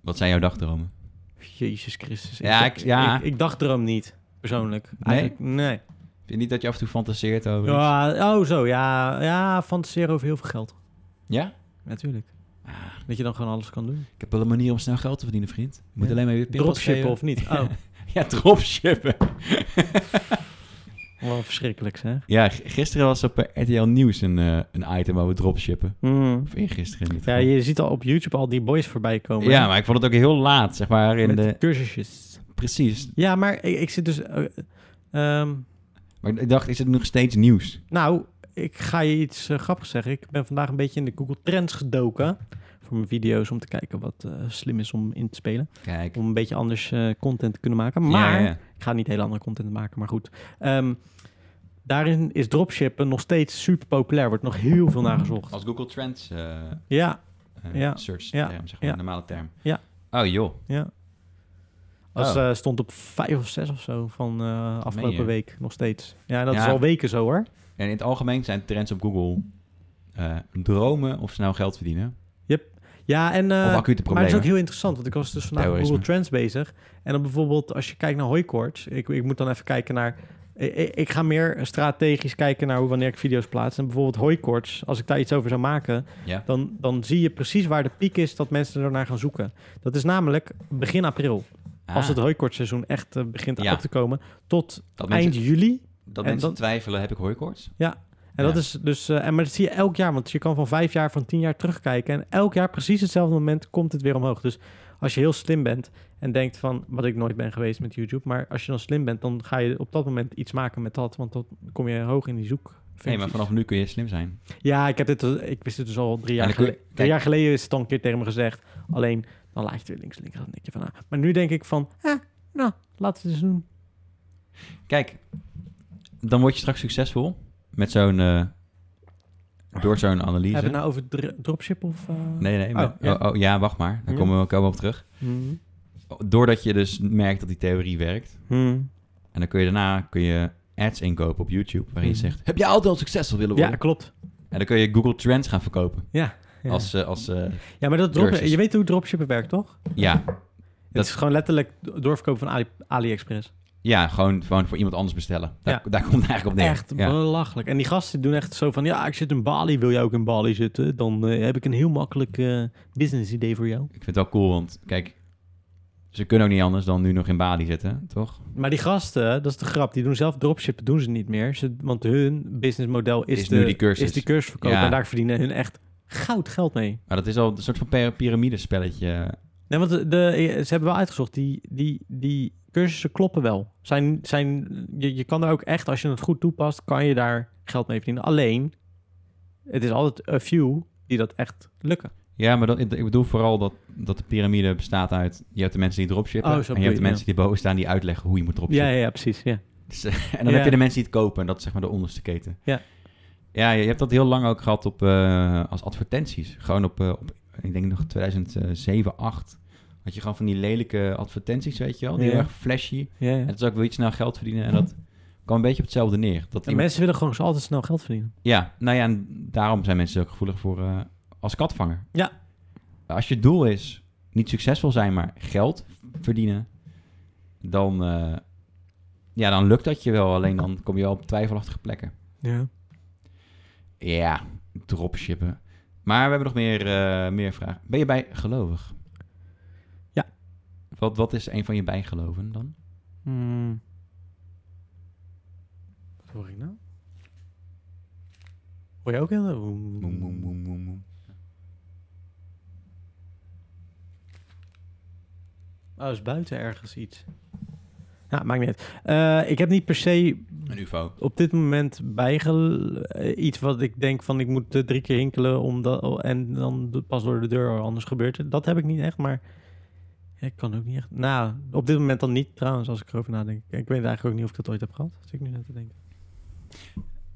S2: Wat zijn jouw dagdromen?
S1: Jezus Christus.
S2: Ja, ik- ja.
S1: ik, ik dacht er hem niet, persoonlijk. Eigenlijk, nee.
S2: Vind je niet dat je af en toe fantaseert over iets?
S1: Ja, oh, zo. Ja, ja, fantaseren over heel veel geld.
S2: Ja?
S1: Natuurlijk.
S2: Ah,
S1: Dat je dan gewoon alles kan doen.
S2: ik heb wel een manier om snel geld te verdienen, vriend. Je moet
S1: Ja.
S2: alleen maar weer pinpas
S1: Dropshippen
S2: geven.
S1: of niet. Oh,
S2: Ja, dropshippen.
S1: Oh, wel verschrikkelijk zeg.
S2: Ja, g- gisteren was op eh, RTL Nieuws een, eh, een item waar we dropshippen. Of eergisteren in dit
S1: Ja,
S2: geval.
S1: je ziet al op YouTube al die boys voorbij komen.
S2: ja, maar ik vond het ook heel laat, zeg maar. In
S1: Met
S2: de...
S1: cursusjes.
S2: Precies.
S1: Ja, maar ik, ik zit dus... eh, ehm,
S2: Maar ik dacht, is het nog steeds nieuws?
S1: nou, ik ga je iets eh, grappigs zeggen. Ik ben vandaag een beetje in de Google Trends gedoken. Voor mijn video's, om te kijken wat eh, slim is om in te spelen.
S2: Kijk.
S1: Om een beetje anders eh, content te kunnen maken. Maar
S2: Ja, ja.
S1: Ik ga niet heel andere content maken, maar goed. Ehm, daarin is dropshippen nog steeds super populair. Wordt nog heel veel naar gezocht.
S2: Als Google Trends eh, eh,
S1: Ja, Ja.
S2: search
S1: Ja.
S2: term, zeg maar,
S1: Ja.
S2: normale term.
S1: Ja.
S2: Oh joh.
S1: ja. Dat
S2: Oh.
S1: eh, stond op vijf of zes of zo van eh,
S2: meen je?
S1: afgelopen week nog steeds. Ja, dat
S2: Ja.
S1: is al weken zo hoor.
S2: En in het algemeen zijn trends op Google eh, dromen of ze nou geld verdienen.
S1: Ja, en, eh,
S2: of acute
S1: maar het is
S2: problemen.
S1: ook heel interessant, want ik was dus vandaag met
S2: Terrorisme.
S1: Google Trends bezig. En dan bijvoorbeeld als je kijkt naar hooikoorts. Ik, ik moet dan even kijken naar... Ik, ik- ik ga meer strategisch kijken naar hoe wanneer ik video's plaats. En bijvoorbeeld hooikoorts, als ik daar iets over zou maken...
S2: Ja.
S1: dan, dan zie je precies waar de piek is dat mensen ernaar gaan zoeken. Dat is namelijk begin april, als
S2: Ah,
S1: het hooikortseizoen echt eh, begint
S2: Ja.
S1: uit te komen, tot
S2: dat
S1: eind
S2: mensen,
S1: juli.
S2: dat
S1: en
S2: mensen
S1: dan-
S2: twijfelen, heb ik hooikoorts?
S1: En
S2: Ja.
S1: dat is dus, eh, en maar dat zie je elk jaar, want je kan van vijf jaar, van tien jaar terugkijken. En elk jaar, precies hetzelfde moment, komt het weer omhoog. Dus als je heel slim bent en denkt van, wat ik nooit ben geweest met YouTube, maar als je dan slim bent, dan ga je op dat moment iets maken met dat, want dan kom je hoog in die zoek.
S2: Nee, maar vanaf nu kun je slim zijn.
S1: Ja, ik, heb dit, ik wist het dus al drie jaar
S2: dan kun je-
S1: geleden. Drie
S2: kijk.
S1: jaar geleden is het al een keer tegen me gezegd. Alleen, dan laat je het weer links, links. Dan denk je van, ah. Maar nu denk ik van, eh, nou, laten we het eens doen.
S2: Kijk, dan word je straks succesvol met zo'n... eh, door zo'n analyse.
S1: Hebben we het nou over dr- dropship of... eh,
S2: Nee, nee. maar-
S1: Oh, ja.
S2: Oh, oh, ja, wacht maar. Daar
S1: Ja.
S2: komen we komen we op terug.
S1: Hmm.
S2: Doordat je dus merkt dat die theorie werkt.
S1: Hmm.
S2: En dan kun je daarna kun je ads inkopen op YouTube. Waarin je
S1: Mhm.
S2: zegt, heb je altijd al succesvol willen
S1: Ja,
S2: worden?
S1: klopt.
S2: En dan kun je Google Trends gaan verkopen.
S1: Ja. Ja,
S2: Als, eh, als eh,
S1: ja maar dat drop,
S2: cursus.
S1: je weet hoe dropshippen werkt, toch?
S2: ja,
S1: Dat is gewoon letterlijk doorverkopen van Ali- AliExpress.
S2: ja gewoon, gewoon voor iemand anders bestellen. Daar,
S1: Ja.
S2: daar komt het eigenlijk op neer.
S1: Echt
S2: Ja.
S1: belachelijk. En die gasten doen echt zo van, ja, ik zit in Bali. Wil jij ook in Bali zitten? Dan eh, heb ik een heel makkelijk eh, business idee voor jou.
S2: Ik vind het wel cool, want kijk, ze kunnen ook niet anders dan nu nog in Bali zitten, toch?
S1: Maar die gasten, dat is de grap, die doen zelf dropshippen, doen ze niet meer. Ze, want hun businessmodel is,
S2: Is
S1: de,
S2: nu die cursus.
S1: is die cursus verkopen.
S2: Ja.
S1: En daar verdienen hun echt goud geld mee.
S2: Maar dat is al een soort van py- piramidespelletje.
S1: Nee, want de, de- ze hebben wel uitgezocht, die, die, die cursussen kloppen wel. Zijn, zijn, je, je kan er ook echt, als je het goed toepast, kan je daar geld mee verdienen. Alleen, het is altijd a few die dat echt lukken.
S2: Ja, maar dat, ik bedoel vooral dat, dat de piramide bestaat uit... Je hebt de mensen die dropshippen
S1: Oh, zo
S2: en je
S1: bedoel
S2: hebt
S1: je,
S2: de mensen die boven staan die uitleggen hoe je moet dropshippen.
S1: Ja, ja, ja, precies. Ja.
S2: Dus, eh, en dan
S1: Ja.
S2: heb je de mensen die het kopen. En dat is zeg maar de onderste keten.
S1: Ja.
S2: Ja, je hebt dat heel lang ook gehad op, eh, als advertenties. Gewoon op, eh, op, ik denk nog 2007, 8 Had je gewoon van die lelijke advertenties, weet je wel. Die
S1: Ja.
S2: heel erg flashy.
S1: ja, ja.
S2: En dat is ook, wil je snel geld verdienen? En dat kwam een beetje op hetzelfde neer. Dat
S1: En
S2: iemand-
S1: mensen willen gewoon zo altijd snel geld verdienen.
S2: Ja, nou ja, en daarom zijn mensen ook gevoelig voor eh, als katvanger.
S1: Ja.
S2: Als je doel is niet succesvol zijn, maar geld verdienen, dan, eh, ja, dan lukt dat je wel. Alleen dan kom je wel op twijfelachtige plekken.
S1: Ja.
S2: Ja, dropshippen. Maar we hebben nog meer, eh, meer vragen. Ben je bijgelovig?
S1: Ja.
S2: Wat, wat is een van je bijgeloven dan?
S1: Hmm. Wat hoor ik nou? Hoor je ook heel... Oem.
S2: Moem, moem, moem, moem, moem.
S1: Oh, is buiten ergens iets. Ja, maakt niet uit. Eh, ik heb niet per se
S2: Een ufo.
S1: op dit moment bijgel... eh, iets wat ik denk van ik moet eh, drie keer hinkelen om dat, oh, en dan do- pas door de deur, anders gebeurt het. Dat heb ik niet echt, maar ja, ik kan ook niet echt. Nou, op dit moment dan niet trouwens, als ik erover nadenk. Ik weet eigenlijk ook niet of ik dat ooit heb gehad, zit ik nu net te denken.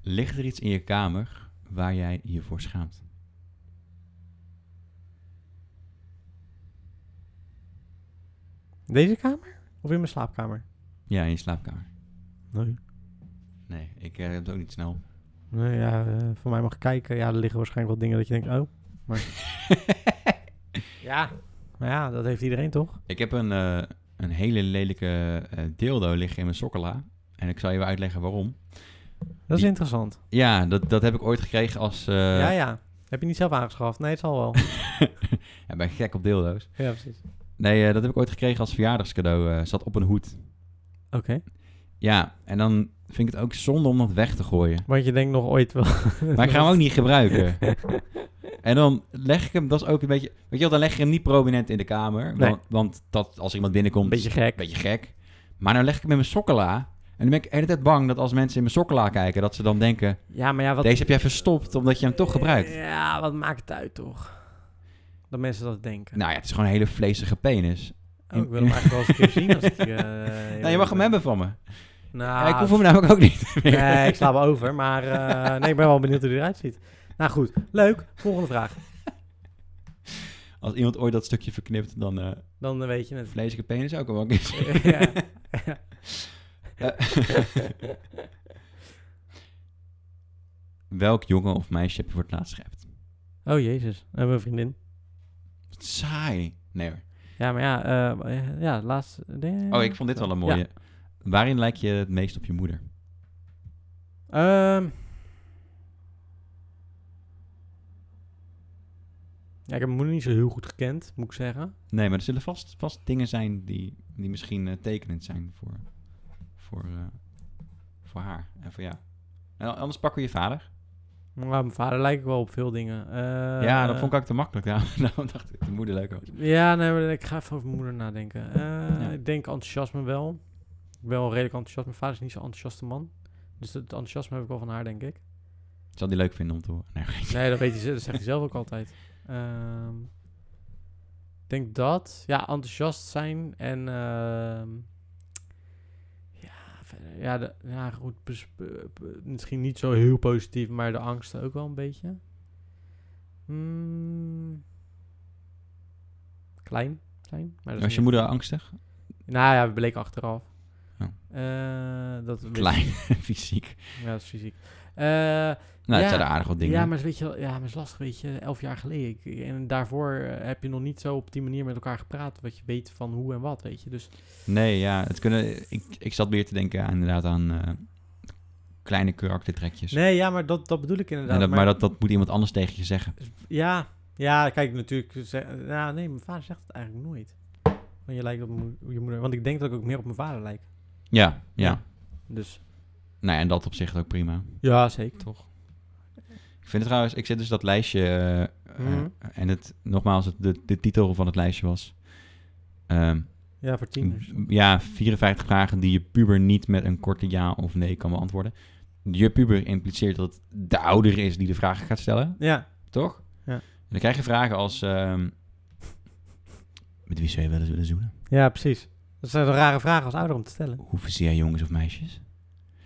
S2: Ligt er iets in je kamer waar jij je voor schaamt?
S1: Deze kamer? Of in mijn slaapkamer?
S2: Ja, in je slaapkamer.
S1: Nee.
S2: Nee, ik eh, heb het ook niet snel.
S1: Nee, ja, eh, voor mij mag kijken. Ja, er liggen waarschijnlijk wel dingen dat je denkt, oh, maar... ja. Maar ja, dat heeft iedereen toch?
S2: Ik heb een, eh, een hele lelijke eh, dildo liggen in mijn sokkela. En ik zal je wel uitleggen waarom.
S1: Dat is
S2: Die-
S1: interessant.
S2: Ja, dat, dat heb ik ooit gekregen als... eh,
S1: ja, ja. Heb je niet zelf aangeschaft? Nee, het zal wel.
S2: ja, ben gek op dildo's.
S1: ja, precies.
S2: Nee, eh, dat heb ik ooit gekregen als verjaardagscadeau. eh zat op een hoed.
S1: Oké.
S2: Ja, en dan vind ik het ook zonde om dat weg te gooien.
S1: Want je denkt nog ooit wel...
S2: Maar ik ga hem ook niet gebruiken. en dan leg ik hem, dat is ook een beetje... Weet je wel, dan leg je hem niet prominent in de kamer.
S1: Nee.
S2: Want, want dat, als iemand binnenkomt...
S1: Beetje
S2: is-
S1: gek.
S2: Beetje gek. Maar nou leg ik hem in mijn sokkela. En dan ben ik de hele tijd bang dat als mensen in mijn sokkela kijken... dat ze dan denken...
S1: Ja, maar ja, wat...
S2: Deze heb jij verstopt omdat je hem toch gebruikt.
S1: Ja, wat maakt het uit, toch? Dat mensen dat denken.
S2: Nou ja, het is gewoon een hele vleesige penis.
S1: Oh, ik wil hem eigenlijk wel eens een keer zien als ik... eh,
S2: Nou, je mag hem hebben van me.
S1: Nou,
S2: ik hoef hem namelijk ook niet meer.
S1: Nee, ik sla hem over, maar eh, nee, ik ben wel benieuwd hoe die eruit ziet. Nou goed, leuk. Volgende vraag.
S2: Als iemand ooit dat stukje verknipt, dan... eh
S1: Dan eh, weet je het.
S2: vleesige penis ook wel eens.
S1: ja.
S2: Welk jongen of meisje heb je voor het laatst geappt?
S1: Oh jezus, en mijn vriendin.
S2: Wat Saai. Nee hoor.
S1: Ja, maar ja, eh ja, laatst.
S2: Oh, ik vond dit wel een mooie. Waarin lijk je het meest op je moeder?
S1: Ehm. ja, ik heb mijn moeder niet zo heel goed gekend, moet ik zeggen.
S2: Nee, maar er zullen vast, vast dingen zijn die, die misschien eh, tekenend zijn voor, voor, eh, voor haar en voor jou. En anders pakken we je vader.
S1: Maar mijn vader lijkt ik wel op veel dingen. Eh,
S2: ja, dat vond ik ook te makkelijk. Ja, daarom dacht ik dat de moeder leuk was.
S1: Ja, nee, maar ik ga even over mijn moeder nadenken. Eh,
S2: Ja.
S1: Ik denk enthousiasme wel. Ik ben wel redelijk enthousiast. Mijn vader is niet zo'n enthousiaste man. Dus dat enthousiasme heb ik wel van haar, denk ik.
S2: Zal die leuk vinden om te horen? Nee, geintje.
S1: Nee, dat, weet hij, ze- dat zegt hij zelf ook altijd. Ehm, ik denk dat. Ja, enthousiast zijn en... ehm, ja, verder- ja, de- ja, goed. bes- be- be- misschien niet zo heel positief, maar de angsten ook wel een beetje. Hmm. Klein zijn. Maar dat is
S2: was je
S1: niet-
S2: moeder angstig?
S1: nou ja, het bleek achteraf.
S2: Oh.
S1: Eh, dat weet-
S2: Klein, fysiek.
S1: Ja, dat is fysiek. Eh,
S2: Nou,
S1: Ja.
S2: dat zijn er aardig wat dingen.
S1: ja, maar dat weet je, wel- ja, maar dat is lastig, weet je. Elf jaar geleden. Ik- en daarvoor eh, heb je nog niet zo op die manier met elkaar gepraat. Wat je weet van hoe en wat, weet je. Dus
S2: Nee, ja, het kunnen, ik, ik zat meer te denken aan, inderdaad aan eh, kleine karaktertrekjes.
S1: nee, ja, maar dat, dat bedoel ik inderdaad.
S2: En dat, maar dat, dat moet iemand anders tegen je zeggen.
S1: Ja, ja, kijk, natuurlijk. ze- Ja, nee, mijn vader zegt het eigenlijk nooit. Want je lijkt op mijn moe- je moeder. Want ik denk dat ik ook meer op mijn vader lijk.
S2: Ja, ja.
S1: Ja. Dus
S2: Nou, ja, en dat op zich ook prima.
S1: ja, zeker.
S2: Toch? Ik vind het trouwens, ik zit dus dat lijstje. eh, eh,
S1: Mhm.
S2: en het, nogmaals, het, de, de titel van het lijstje was. ehm,
S1: Ja, voor tieners.
S2: m- ja, 54 vragen die je puber niet met een korte ja of nee kan beantwoorden. Je puber impliceert dat het de ouder is die de vragen gaat stellen,
S1: Ja,
S2: toch?
S1: Ja.
S2: En dan krijg je vragen als. ehm, met wie zou je wel eens willen zoenen?
S1: ja, precies. Dat zijn een rare vragen als ouder om te stellen.
S2: Hoe verzeer jij jongens of meisjes?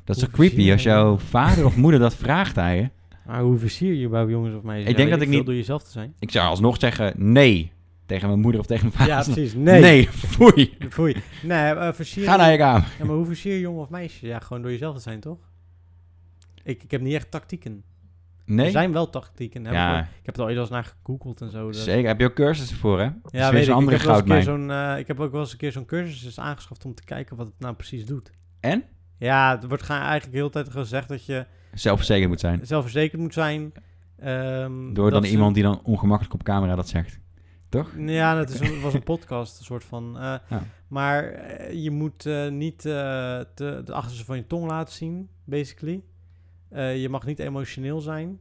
S2: Dat is
S1: Hoe
S2: toch creepy
S1: verzeer
S2: als
S1: jij
S2: jouw
S1: jongens?
S2: vader of moeder dat vraagt aan je?
S1: Maar hoe versier je bij jongens of meisjes?
S2: Ik denk dat ik
S1: veel,
S2: niet-
S1: door jezelf te zijn.
S2: Ik zou alsnog zeggen nee tegen mijn moeder of tegen mijn vader.
S1: Ja, precies.
S2: nee.
S1: Nee.
S2: foei.
S1: Foei. Nee, eh, versier.
S2: Ga naar je kamer.
S1: Ja, maar hoe versier je jongen of meisje? Ja, gewoon door jezelf te zijn, toch? Ik, ik heb niet echt tactieken.
S2: Nee,
S1: Er zijn wel tactieken. Heb
S2: Ja.
S1: ik, ook- ik heb er ooit wel eens naar gegoogeld en zo. dat-
S2: zeker. Heb je ook cursussen voor, hè? Dat is
S1: Ja, weet
S2: weer zo'n
S1: ik. Ik
S2: andere
S1: heb, wel eens een keer
S2: goudmijn.
S1: zo'n, eh, ik heb ook wel eens een keer zo'n cursus is aangeschaft om te kijken wat het nou precies doet.
S2: En?
S1: Ja, er wordt ga- eigenlijk de hele tijd gezegd dat je
S2: Zelfverzekerd moet zijn.
S1: zelfverzekerd moet zijn. ehm,
S2: Door dan
S1: dat ze-
S2: iemand die dan ongemakkelijk op camera dat zegt.
S1: Ja, dat is een- was een podcast, een soort van. eh,
S2: Ja.
S1: Maar eh, je moet eh, niet eh, te, de achterste van je tong laten zien, basically. Eh, je mag niet emotioneel zijn.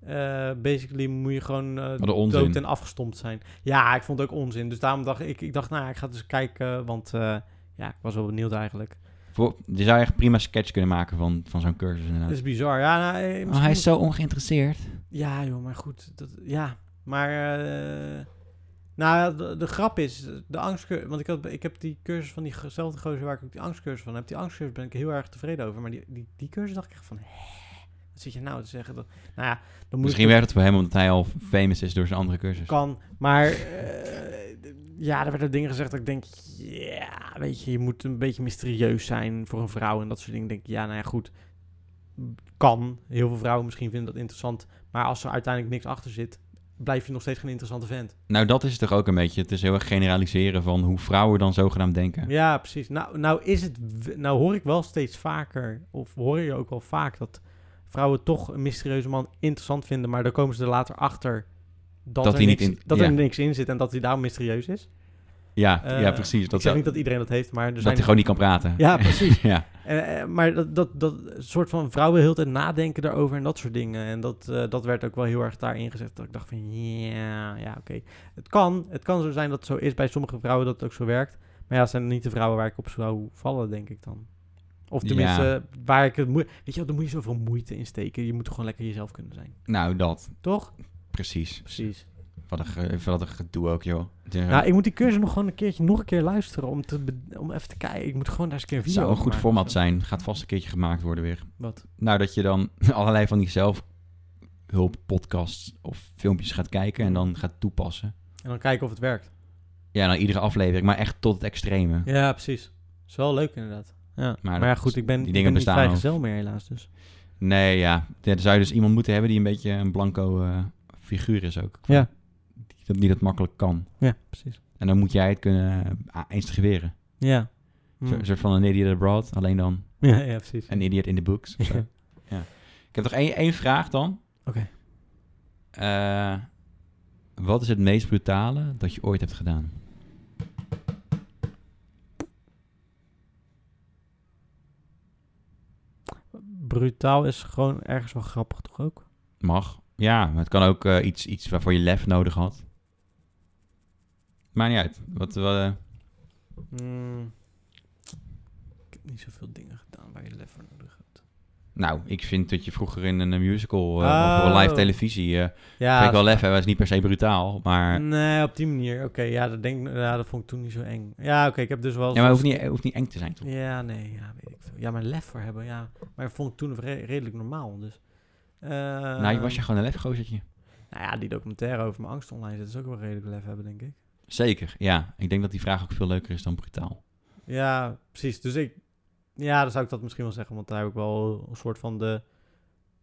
S1: Eh, basically moet je gewoon eh,
S2: Wat een onzin.
S1: dood en afgestompt zijn. Ja, ik vond het ook onzin. Dus daarom dacht ik, ik dacht, nou, ja, ik ga het eens kijken, want eh, ja, ik was wel benieuwd eigenlijk.
S2: Voor, je zou echt prima sketch kunnen maken van, van zo'n cursus
S1: Dat
S2: inderdaad.
S1: is bizar. Ja, nou, eh,
S2: Oh, hij
S1: misschien-
S2: is zo ongeïnteresseerd.
S1: Ja, joh, maar goed. Dat, ja, maar... eh, nou, de, de grap is, de angstcursus... Want ik, had, ik heb die cursus van diezelfde gozer waar ik ook die angstcursus van heb. Die angstcursus ben ik heel erg tevreden over. Maar die, die, die cursus dacht ik echt van... Hè? Wat zit je nou te zeggen? Dat, nou ja, dan moet
S2: Misschien
S1: ik,
S2: werkt het voor hem omdat hij al famous is door zijn andere cursus.
S1: Kan, maar... eh, d- ja, er werden dingen gezegd dat ik denk... Ja, weet je, je moet een beetje mysterieus zijn voor een vrouw en dat soort dingen. Ik denk, ja, nou ja, goed. Kan. Heel veel vrouwen misschien vinden dat interessant. Maar als er uiteindelijk niks achter zit... blijf je nog steeds geen interessante vent.
S2: Nou, dat is het toch ook een beetje. Het is heel erg generaliseren van hoe vrouwen dan zogenaamd denken.
S1: Ja, precies. Nou, nou, is het, w- nou hoor ik wel steeds vaker, of hoor je ook wel vaak, dat vrouwen toch een mysterieuze man interessant vinden, maar dan komen ze er later achter dat, er,
S2: Dat hij
S1: niks,
S2: niet in-
S1: dat
S2: ja.
S1: er niks in zit en dat hij daarom mysterieus is.
S2: Ja,
S1: Eh,
S2: ja precies. Dat,
S1: ik zeg
S2: dat,
S1: niet dat iedereen dat heeft, maar er
S2: dat
S1: zijn...
S2: hij gewoon niet kan praten.
S1: Ja, precies.
S2: ja.
S1: Eh, eh, maar dat, dat, dat soort van vrouwen heel de tijd nadenken daarover en dat soort dingen. En dat, eh, dat werd ook wel heel erg daarin gezet. Dat ik dacht van, ja, ja, oké. Het, kan, het kan zo zijn dat het zo is bij sommige vrouwen dat het ook zo werkt. Maar ja, het zijn niet de vrouwen waar ik op zou vallen, denk ik dan. Of
S2: Ja.
S1: tenminste, eh, waar ik het moe- Weet je wel, daar moet je zoveel moeite in steken. Je moet gewoon lekker jezelf kunnen zijn.
S2: Nou, dat.
S1: Toch?
S2: Precies.
S1: Precies.
S2: Wat een, ge- wat een gedoe ook, joh. Het is-
S1: Nou, ik moet die cursus nog gewoon een keertje nog een keer luisteren om, te be- om even te kijken. Ik moet gewoon daar eens een keer een
S2: het
S1: video
S2: zou een
S1: over
S2: goed
S1: maken of
S2: format
S1: zo.
S2: zijn. Gaat vast een keertje gemaakt worden weer.
S1: Wat?
S2: Nou, dat je dan allerlei van die zelfhulppodcasts of filmpjes gaat kijken en dan gaat toepassen.
S1: En dan kijken of het werkt.
S2: Ja, nou iedere aflevering, maar echt tot het extreme.
S1: Ja, precies. is wel leuk inderdaad. Ja. Maar,
S2: Maar
S1: ja,
S2: dat-
S1: goed, ik ben,
S2: die
S1: ik
S2: dingen
S1: ben niet
S2: bestaan
S1: vrijgezel meer helaas. Dus.
S2: Nee, ja. Dan zou je dus iemand moeten hebben die een beetje een blanco eh, figuur is ook.
S1: Ja.
S2: Die dat niet dat makkelijk kan.
S1: Ja, precies.
S2: En dan moet jij het kunnen uh, instigeren.
S1: Ja.
S2: Zo-
S1: Mm.
S2: Een soort van een idiot abroad, alleen dan
S1: Ja, ja, precies.
S2: een idiot in the books. of zo.
S1: Ja.
S2: Ik heb nog één, één vraag dan.
S1: Oké.
S2: Eh, wat is het meest brutale dat je ooit hebt gedaan?
S1: Brutaal is gewoon ergens wel grappig, toch ook?
S2: Mag. Ja, maar het kan ook eh, iets, iets waarvoor je lef nodig had. Maakt niet uit. Wat, wat, eh,
S1: Hmm. Ik heb niet zoveel dingen gedaan waar je lef voor nodig hebt.
S2: nou, ik vind dat je vroeger in een musical eh,
S1: Oh.
S2: of voor live televisie... eh,
S1: Ja, Mm,
S2: vind ik wel lef hebben, is niet per se brutaal, maar...
S1: nee, op die manier. Oké, ja, dat denk, ik- ja, dat vond ik toen niet zo eng. Ja, oké, ik heb dus wel...
S2: Ja, maar
S1: zo'n
S2: hoeft niet, eh, hoeft niet eng te zijn, toch?
S1: Ja, nee, ja, weet ik veel. Ja, maar lef voor hebben, ja. Maar vond ik toen re- redelijk normaal, dus... Eh,
S2: nou, je was je gewoon een lefgozertje.
S1: Nou ja, die documentaire over mijn angst online zit is ook wel redelijk lef hebben, denk ik.
S2: Zeker, ja. Ik denk dat die vraag ook veel leuker is dan brutaal.
S1: Ja, precies. Dus ik... Ja, dan zou ik dat misschien wel zeggen, want daar heb ik wel een soort van de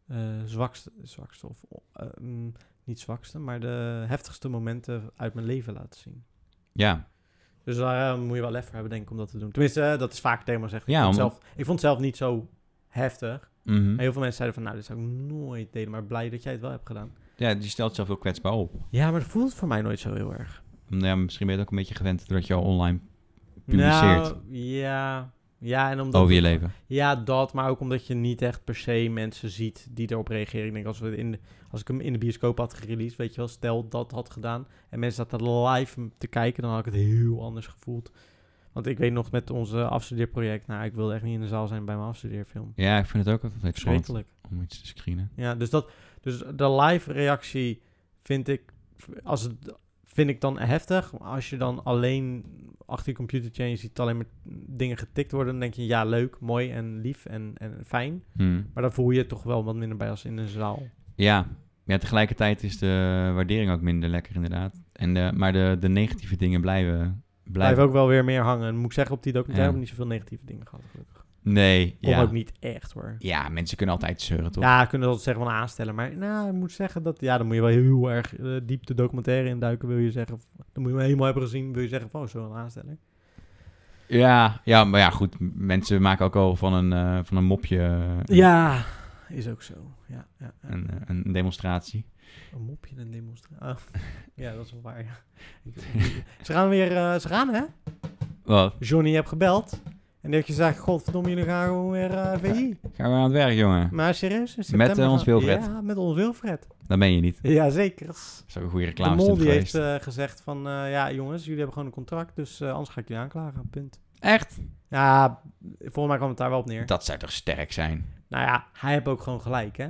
S1: eh, zwakste, zwakste of eh, mm, niet zwakste, maar de heftigste momenten uit mijn leven laten zien.
S2: Ja,
S1: Dus daar eh, moet je wel lef voor hebben, denk ik, om dat te doen. Tenminste, eh, dat is vaak het thema, zeg. Ik,
S2: Ja,
S1: vond
S2: om-
S1: zelf, ik vond het zelf niet zo heftig.
S2: mhm.
S1: Maar heel veel mensen zeiden van, nou, dit zou ik nooit delen, maar blij dat jij het wel hebt gedaan.
S2: ja je stelt zelf heel kwetsbaar op.
S1: Ja, maar dat voelt voor mij nooit zo heel erg.
S2: Nou Ja, misschien ben je het ook een beetje gewend doordat je al online publiceert
S1: Nou, ja, ja, en omdat...
S2: over je leven.
S1: Ja, dat, maar ook omdat je niet echt per se mensen ziet die erop reageren. Ik denk, als, we het in de- als ik hem in de bioscoop had gereleased, weet je wel, stel dat had gedaan en mensen zaten live m- te kijken, dan had ik het heel anders gevoeld. Want ik weet nog met onze afstudeerproject, nou, ik wilde echt niet in de zaal zijn bij mijn afstudeerfilm.
S2: Ja, ik vind het ook altijd spannend
S1: Verschrikkelijk.
S2: om iets te screenen.
S1: Ja, dus, dat, dus de live reactie vind ik, als het, vind ik dan heftig. Maar Als je dan alleen achter je computertje en je ziet alleen maar dingen getikt worden, dan denk je ja, leuk, mooi en lief en, en fijn.
S2: Hmm.
S1: Maar dan voel je het toch wel wat minder bij als in een zaal.
S2: Ja. ja, tegelijkertijd is de waardering ook minder lekker inderdaad. En de, maar de, de negatieve dingen blijven...
S1: Blijf
S2: blijven.
S1: ook wel weer meer hangen. En moet ik zeggen, op die documentaire
S2: Ja.
S1: heb ik niet zoveel negatieve dingen gehad, gelukkig.
S2: Nee,
S1: Of ook
S2: ja.
S1: niet echt hoor.
S2: Ja, mensen kunnen altijd zeuren, toch?
S1: Ja, kunnen dat zeggen van aanstellen. Maar nou, ik moet zeggen dat... Ja, dan moet je wel heel erg eh, diep de documentaire induiken, wil je zeggen. Dan moet je hem helemaal hebben gezien, wil je zeggen van... Oh, zo'n aansteller.
S2: Ja, ja, maar ja, goed. m- Mensen maken ook al van een, eh, van een mopje eh,
S1: Ja, is ook zo. Ja, ja, ja.
S2: een, eh, een demonstratie.
S1: Een mopje en demonstratie. Oh. ja, dat is wel waar. Ja. Ik- ze gaan weer, eh, ze gaan hè?
S2: Wat?
S1: Johnny, je hebt gebeld. En dat je zegt, godverdomme, jullie gaan gewoon weer eh VI.
S2: Gaan we aan het werk, jongen?
S1: Maar serieus, in
S2: Met,
S1: september
S2: eh, ons
S1: gaan-
S2: Wilfred.
S1: Ja, met ons Wilfred.
S2: Dat ben je niet.
S1: Jazeker.
S2: Dat is ook een goede
S1: De
S2: reclame
S1: mol die
S2: geweest.
S1: heeft eh, gezegd van, eh, ja jongens, jullie hebben gewoon een contract, dus eh, anders ga ik jullie aanklagen, punt.
S2: Echt?
S1: Ja, volgens mij kwam het daar wel op neer.
S2: Dat zou toch sterk zijn?
S1: Nou ja, hij heeft ook gewoon gelijk, hè.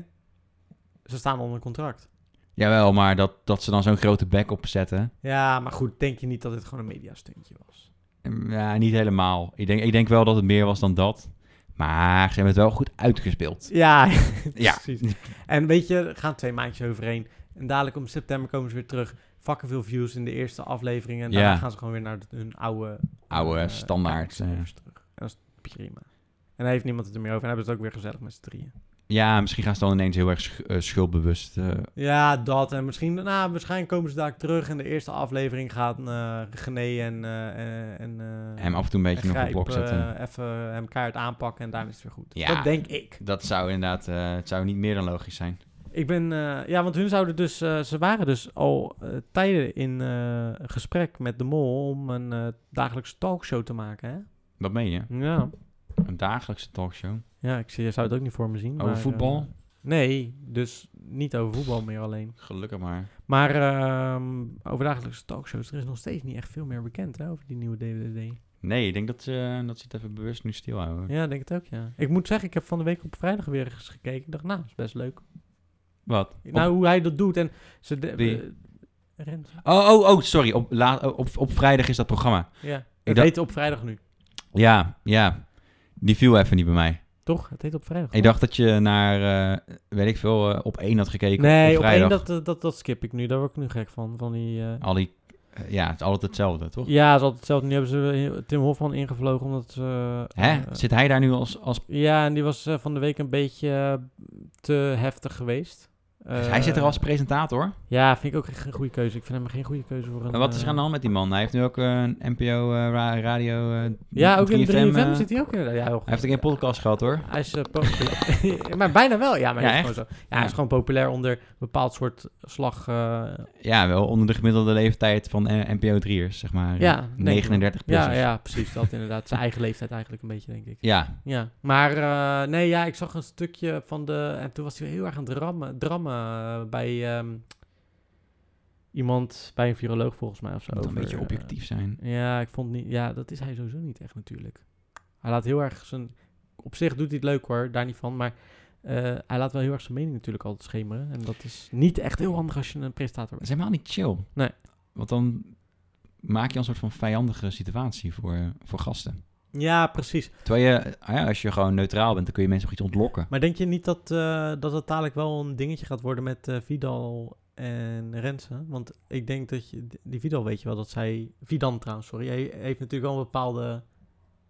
S1: Ze staan onder contract.
S2: Jawel, maar dat, dat ze dan zo'n grote bek opzetten...
S1: Ja, maar goed, denk je niet dat het gewoon een mediastuntje was?
S2: mm, Ja, niet helemaal. Ik denk, ik denk wel dat het meer was dan dat. Maar ze hebben het wel goed uitgespeeld.
S1: Ja,
S2: Ja.
S1: precies. En weet je, er gaan twee maandjes overheen. En dadelijk om september komen ze weer terug. Fucking veel views in de eerste aflevering. En daarna
S2: Ja.
S1: gaan ze gewoon weer naar de- hun oude...
S2: Oude
S1: eh,
S2: standaard,
S1: kijkcijfers terug. En dat is prima. En dan heeft niemand het er meer over. En hebben ze het ook weer gezellig met z'n drieën.
S2: Ja, misschien gaan ze dan ineens heel erg sch- eh, schuldbewust. eh,
S1: Ja, dat. En misschien, nou, waarschijnlijk komen ze daar terug. En de eerste aflevering gaat eh René en, eh, eh, en, eh,
S2: hem af en toe een beetje
S1: en
S2: nog op
S1: Grijp,
S2: blok zetten.
S1: eh, even hem kaart aanpakken en daarna is het weer goed.
S2: Ja.
S1: Dat denk ik.
S2: Dat zou inderdaad, eh, het zou niet meer dan logisch zijn.
S1: Ik ben, eh, ja, want hun zouden dus, eh, ze waren dus al eh, tijden in eh, gesprek met de mol om een eh, dagelijkse talkshow te maken, hè?
S2: Dat meen je?
S1: Ja.
S2: Een dagelijkse talkshow.
S1: Ja, ik zie, je zou het ook niet voor me zien.
S2: Over
S1: maar,
S2: voetbal?
S1: eh, nee, dus niet over voetbal meer alleen.
S2: Gelukkig maar.
S1: Maar ehm, over dagelijkse talkshows, er is nog steeds niet echt veel meer bekend hè, over die nieuwe DWDD.
S2: Nee, ik denk dat, ze eh, dat ze het even bewust nu stilhouden.
S1: Ja, ik denk het ook, ja. Ik moet zeggen, ik heb van de week op vrijdag weer eens gekeken. Ik dacht, nou, is best leuk.
S2: Wat?
S1: Nou, hoe hij dat doet en... Ze de,
S2: Wie?
S1: eh, Rens.
S2: Oh, oh, oh, sorry. Op, la, op, op vrijdag is dat programma.
S1: Ja, het
S2: dacht-
S1: heet op vrijdag nu.
S2: Ja, ja. Die viel even niet bij mij.
S1: Toch? Het heet op vrijdag.
S2: Ik dacht dat je naar, eh, weet ik veel, eh, op één had gekeken
S1: nee,
S2: op
S1: op één,
S2: vrijdag.
S1: dat, eh, dat, dat skip ik nu. Daar word ik nu gek van. van die, eh,
S2: Al die, eh, ja, het is altijd hetzelfde, toch?
S1: Ja, het is altijd hetzelfde. Nu hebben ze eh, Tim Hofman ingevlogen omdat ze... eh,
S2: Hè?
S1: eh,
S2: Zit hij daar nu als... als...
S1: ja, en die was eh, van de week een beetje eh, te heftig geweest.
S2: Dus
S1: Eh,
S2: hij zit er als presentator.
S1: Ja, vind ik ook geen goede keuze. Ik vind hem geen goede keuze voor een... eh,
S2: En wat is er aan de hand met die man? Hij heeft nu ook eh, een NPO eh, ra- radio... eh,
S1: Ja, ook in
S2: 3FM,
S1: 3FM
S2: eh,
S1: zit hij ook inderdaad. Ja, heel goed.
S2: Hij heeft een keer een podcast gehad, hoor.
S1: Hij is eh, populair. maar bijna wel, ja. Maar
S2: Ja,
S1: hij is gewoon zo. Ja, hij is
S2: Ja.
S1: gewoon populair onder een bepaald soort slag. eh,
S2: Ja, wel onder de gemiddelde leeftijd van eh, NPO 3'ers, zeg maar.
S1: Ja, denk ik wel.
S2: 39 plus.
S1: ja, ja, precies. Dat inderdaad. Zijn eigen leeftijd eigenlijk een beetje, denk ik.
S2: Ja,
S1: Ja, maar eh, nee, ja, ik zag een stukje van de... En toen was hij heel erg aan het rammen, drammen eh, bij ehm, iemand, bij een viroloog volgens mij of zo.
S2: moet
S1: over,
S2: een beetje
S1: eh,
S2: objectief zijn.
S1: ja, ik vond niet... Ja, dat is hij sowieso niet echt natuurlijk. Hij laat heel erg zijn... Op zich doet hij het leuk hoor, daar niet van, maar... eh, hij laat wel heel erg zijn mening natuurlijk altijd schemeren. En dat is niet echt heel handig als je een presentator
S2: Dat
S1: bent.
S2: is helemaal niet chill.
S1: Nee.
S2: Want dan maak je een soort van vijandige situatie voor, eh, voor gasten.
S1: Ja, precies.
S2: Terwijl je, eh, ah ja, als je gewoon neutraal bent, dan kun je mensen nog iets ontlokken.
S1: Maar denk je niet dat, eh, dat het dadelijk wel een dingetje gaat worden met eh, Vidal en Rensen? Want ik denk dat je, die Vidal weet je wel dat zij, Vidan trouwens, sorry, hij heeft natuurlijk wel een bepaalde,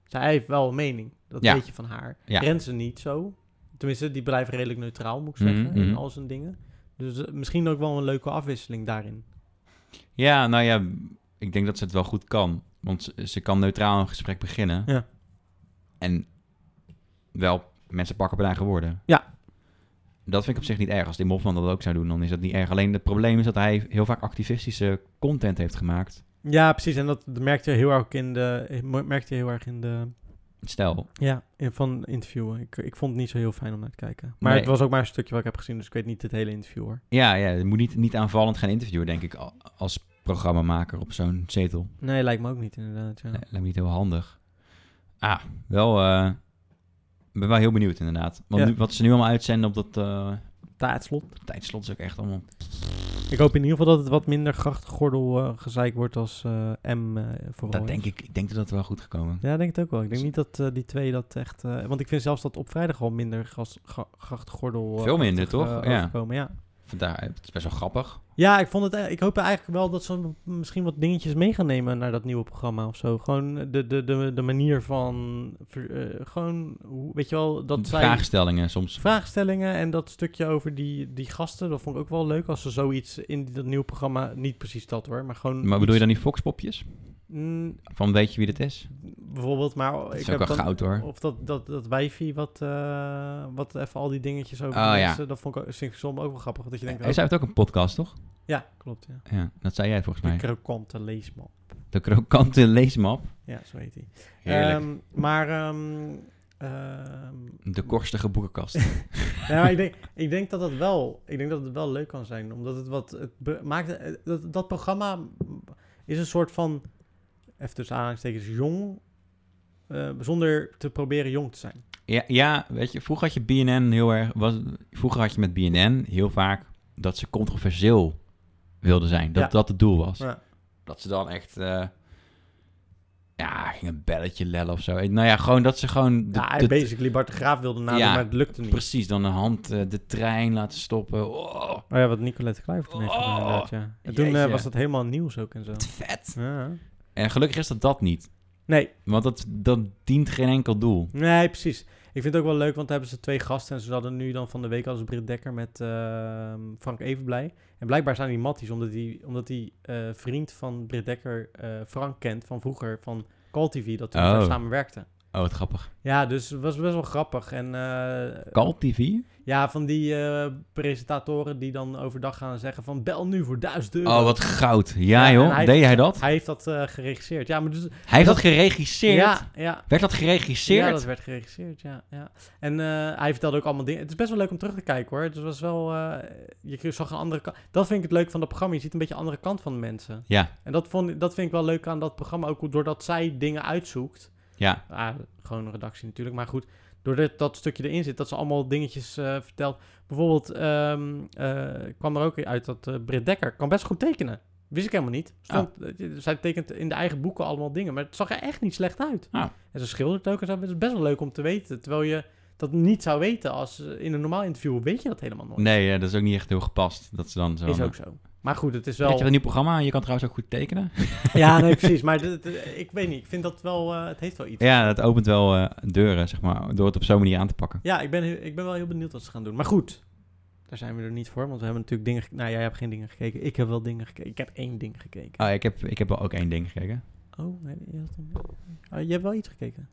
S1: zij heeft wel een mening, dat
S2: Ja.
S1: weet je van haar.
S2: Ja.
S1: Rensen niet zo, tenminste die blijft redelijk neutraal moet ik
S2: Mhm,
S1: zeggen, in
S2: mhm.
S1: al zijn dingen. Dus eh, misschien ook wel een leuke afwisseling daarin.
S2: Ja, nou ja, ik denk dat ze het wel goed kan. Want ze, ze kan neutraal een gesprek beginnen.
S1: Ja.
S2: En wel mensen pakken op hun eigen woorden.
S1: Ja.
S2: Dat vind ik op zich niet erg. Als Tim Hofman dat ook zou doen, dan is dat niet erg. Alleen het probleem is dat hij heel vaak activistische content heeft gemaakt.
S1: Ja, precies. En dat merkte je heel erg in de, merkte je heel erg in de
S2: Stel,
S1: Ja, in- van interviewen. Ik, ik vond het niet zo heel fijn om naar te kijken. Maar
S2: Nee.
S1: het was ook maar een stukje wat ik heb gezien, dus ik weet niet het hele interview hoor.
S2: ja, ja je moet niet, niet aanvallend gaan interviewen, denk ik, al- als programmamaker op zo'n zetel.
S1: Nee, lijkt me ook niet inderdaad. Ja.
S2: Nee, Eh, lijkt me niet heel handig. Ah, wel, eh, ik ben wel heel benieuwd inderdaad. Want
S1: Ja.
S2: nu, wat ze nu allemaal uitzenden op dat eh,
S1: Taatslot.
S2: tijdslot is ook echt
S1: Oh,
S2: allemaal...
S1: Ik hoop in ieder geval dat het wat minder grachtgordel eh gezeik wordt als eh, M eh, vooral.
S2: Dat
S1: is.
S2: denk ik, Dus- ik denk dat dat wel goed gekomen.
S1: Ja, ik denk het ook wel. Ik denk niet dat eh, die twee dat echt... eh, want ik vind zelfs dat op vrijdag al minder gas, ga, grachtgordel... eh,
S2: Veel minder,
S1: achtig,
S2: toch?
S1: eh,
S2: Ja.
S1: overkomen, ja.
S2: Vandaar, eh, het is best wel grappig.
S1: Ja, ik, vond het, eh, ik hoop eigenlijk wel dat ze misschien wat dingetjes mee gaan nemen naar dat nieuwe programma of zo. Gewoon de, de, de, de manier van. ver- eh, gewoon, hoe- weet je wel, dat zij.
S2: Vraagstellingen soms.
S1: Vraagstellingen en dat stukje over die, die gasten, dat vond ik ook wel leuk. Als ze zoiets in dat nieuwe programma, niet precies dat hoor, maar gewoon.
S2: Maar bedoel je dan die foxpopjes?
S1: Mm,
S2: Van weet je wie dit is?
S1: bijvoorbeeld, maar.
S2: Dat
S1: ik
S2: is
S1: heb
S2: ook wel
S1: dan-
S2: goud hoor.
S1: Of dat, dat, dat wijfie wat, eh, wat even al die dingetjes over
S2: Oh,
S1: die
S2: ja.
S1: mensen, dat vond ik, ook- vind ik soms ook wel grappig. Dat je denkt,
S2: Hij
S1: oh,
S2: zij heeft ook een podcast, toch?
S1: ja, klopt. Ja.
S2: Ja, dat zei jij volgens
S1: De
S2: mij.
S1: krokante leesman.
S2: De krokante leesmap.
S1: Ja, zo heet hij.
S2: Heerlijk.
S1: Ehm, maar, ehm, ehm,
S2: de korstige boekenkast.
S1: nou, maar ik, denk, ik denk dat dat wel, ik denk dat het wel leuk kan zijn, omdat het wat het be- maakt. eh, Dat, dat programma is een soort van even tussen aanhalingstekens jong, eh, zonder te proberen jong te zijn.
S2: ja, ja, weet je, vroeger had je BNN heel erg... Was, vroeger had je met BNN heel vaak dat ze controversieel wilden zijn. Dat
S1: Ja.
S2: dat het doel was.
S1: Ja.
S2: Dat ze dan echt... eh, ja, ging een belletje lellen of zo. Nou ja, gewoon dat ze gewoon... de-
S1: ja,
S2: de-
S1: basically Bart de Graaf wilde nadoen,
S2: Ja,
S1: maar het lukte niet.
S2: precies, dan een hand eh, de trein laten stoppen. Oh,
S1: Oh ja, wat Nicolette Kluivert toen heeft gedaan,
S2: Oh,
S1: inderdaad, ja. En toen eh,
S2: jeetje.
S1: was dat helemaal nieuws ook en zo.
S2: wat vet.
S1: Ja.
S2: En gelukkig is dat dat niet.
S1: Nee,
S2: Want dat, dat dient geen enkel doel.
S1: nee, precies. Ik vind het ook wel leuk, want daar hebben ze twee gasten. En ze hadden nu dan van de week als Britt Dekker met ehm, Frank Evenblij. En blijkbaar zijn die matties, omdat die, omdat die eh, vriend van Britt Dekker eh, Frank kent van vroeger, van Call TV, dat toen
S2: Oh.
S1: daar samen werkten.
S2: Oh, wat grappig.
S1: Ja, dus het was best wel grappig. En eh,
S2: Call TV?
S1: Ja, van die eh, presentatoren die dan overdag gaan zeggen van bel nu voor duizend euro.
S2: Oh, wat goud. Ja,
S1: Ja,
S2: joh.
S1: en hij-
S2: Deed hij dat?
S1: Hij heeft dat eh, geregisseerd. Ja, maar dus...
S2: Hij heeft dat geregisseerd.
S1: Ja, ja.
S2: Werd dat
S1: Ja,
S2: geregisseerd?
S1: dat werd geregisseerd, ja. ja. En eh, hij vertelde ook allemaal dingen. Het is best wel leuk om terug te kijken, hoor. Het was wel... eh, je zag een andere kant. Dat vind ik het leuk van dat programma. Je ziet een beetje een andere kant van de mensen.
S2: Ja.
S1: En dat, vond, dat vind ik wel leuk aan dat programma. Ook doordat zij dingen uitzoekt.
S2: Ja.
S1: Ah, gewoon een redactie natuurlijk. Maar goed, doordat dat stukje erin zit, dat ze allemaal dingetjes eh, vertelt. Bijvoorbeeld ehm, eh, kwam er ook uit dat eh Britt Dekker kan best goed tekenen. Wist ik helemaal niet. Stond,
S2: Ah.
S1: eh, Zij tekent in de eigen boeken allemaal dingen, maar het zag er echt niet slecht uit.
S2: Ah.
S1: En ze schildert ook en zo. Het is best wel leuk om te weten. Terwijl je dat niet zou weten als eh, in een normaal interview weet je dat helemaal nooit.
S2: Nee, eh, dat is ook niet echt heel gepast. Dat ze dan zo...
S1: Is ook zo. Maar goed, het is
S2: Weet je
S1: wel...
S2: wel, een nieuw programma. Je kan trouwens ook goed tekenen.
S1: Ja, nee, precies. Maar dit- dit- ik weet niet. Ik vind dat wel... eh, het heeft wel iets.
S2: Ja, dat opent wel eh, deuren, zeg maar. Door het op zo'n manier aan te pakken.
S1: Ja, ik ben, heel- ik ben wel heel benieuwd wat ze gaan doen. Maar goed, daar zijn we er niet voor. Want we hebben natuurlijk dingen... ge- Nou, jij hebt geen dingen gekeken. Ik heb wel dingen gekeken. Ik heb één ding gekeken.
S2: Oh, ik heb, ik heb wel ook één ding gekeken.
S1: Oh, nee, je, had een- Oh, je hebt wel iets gekeken.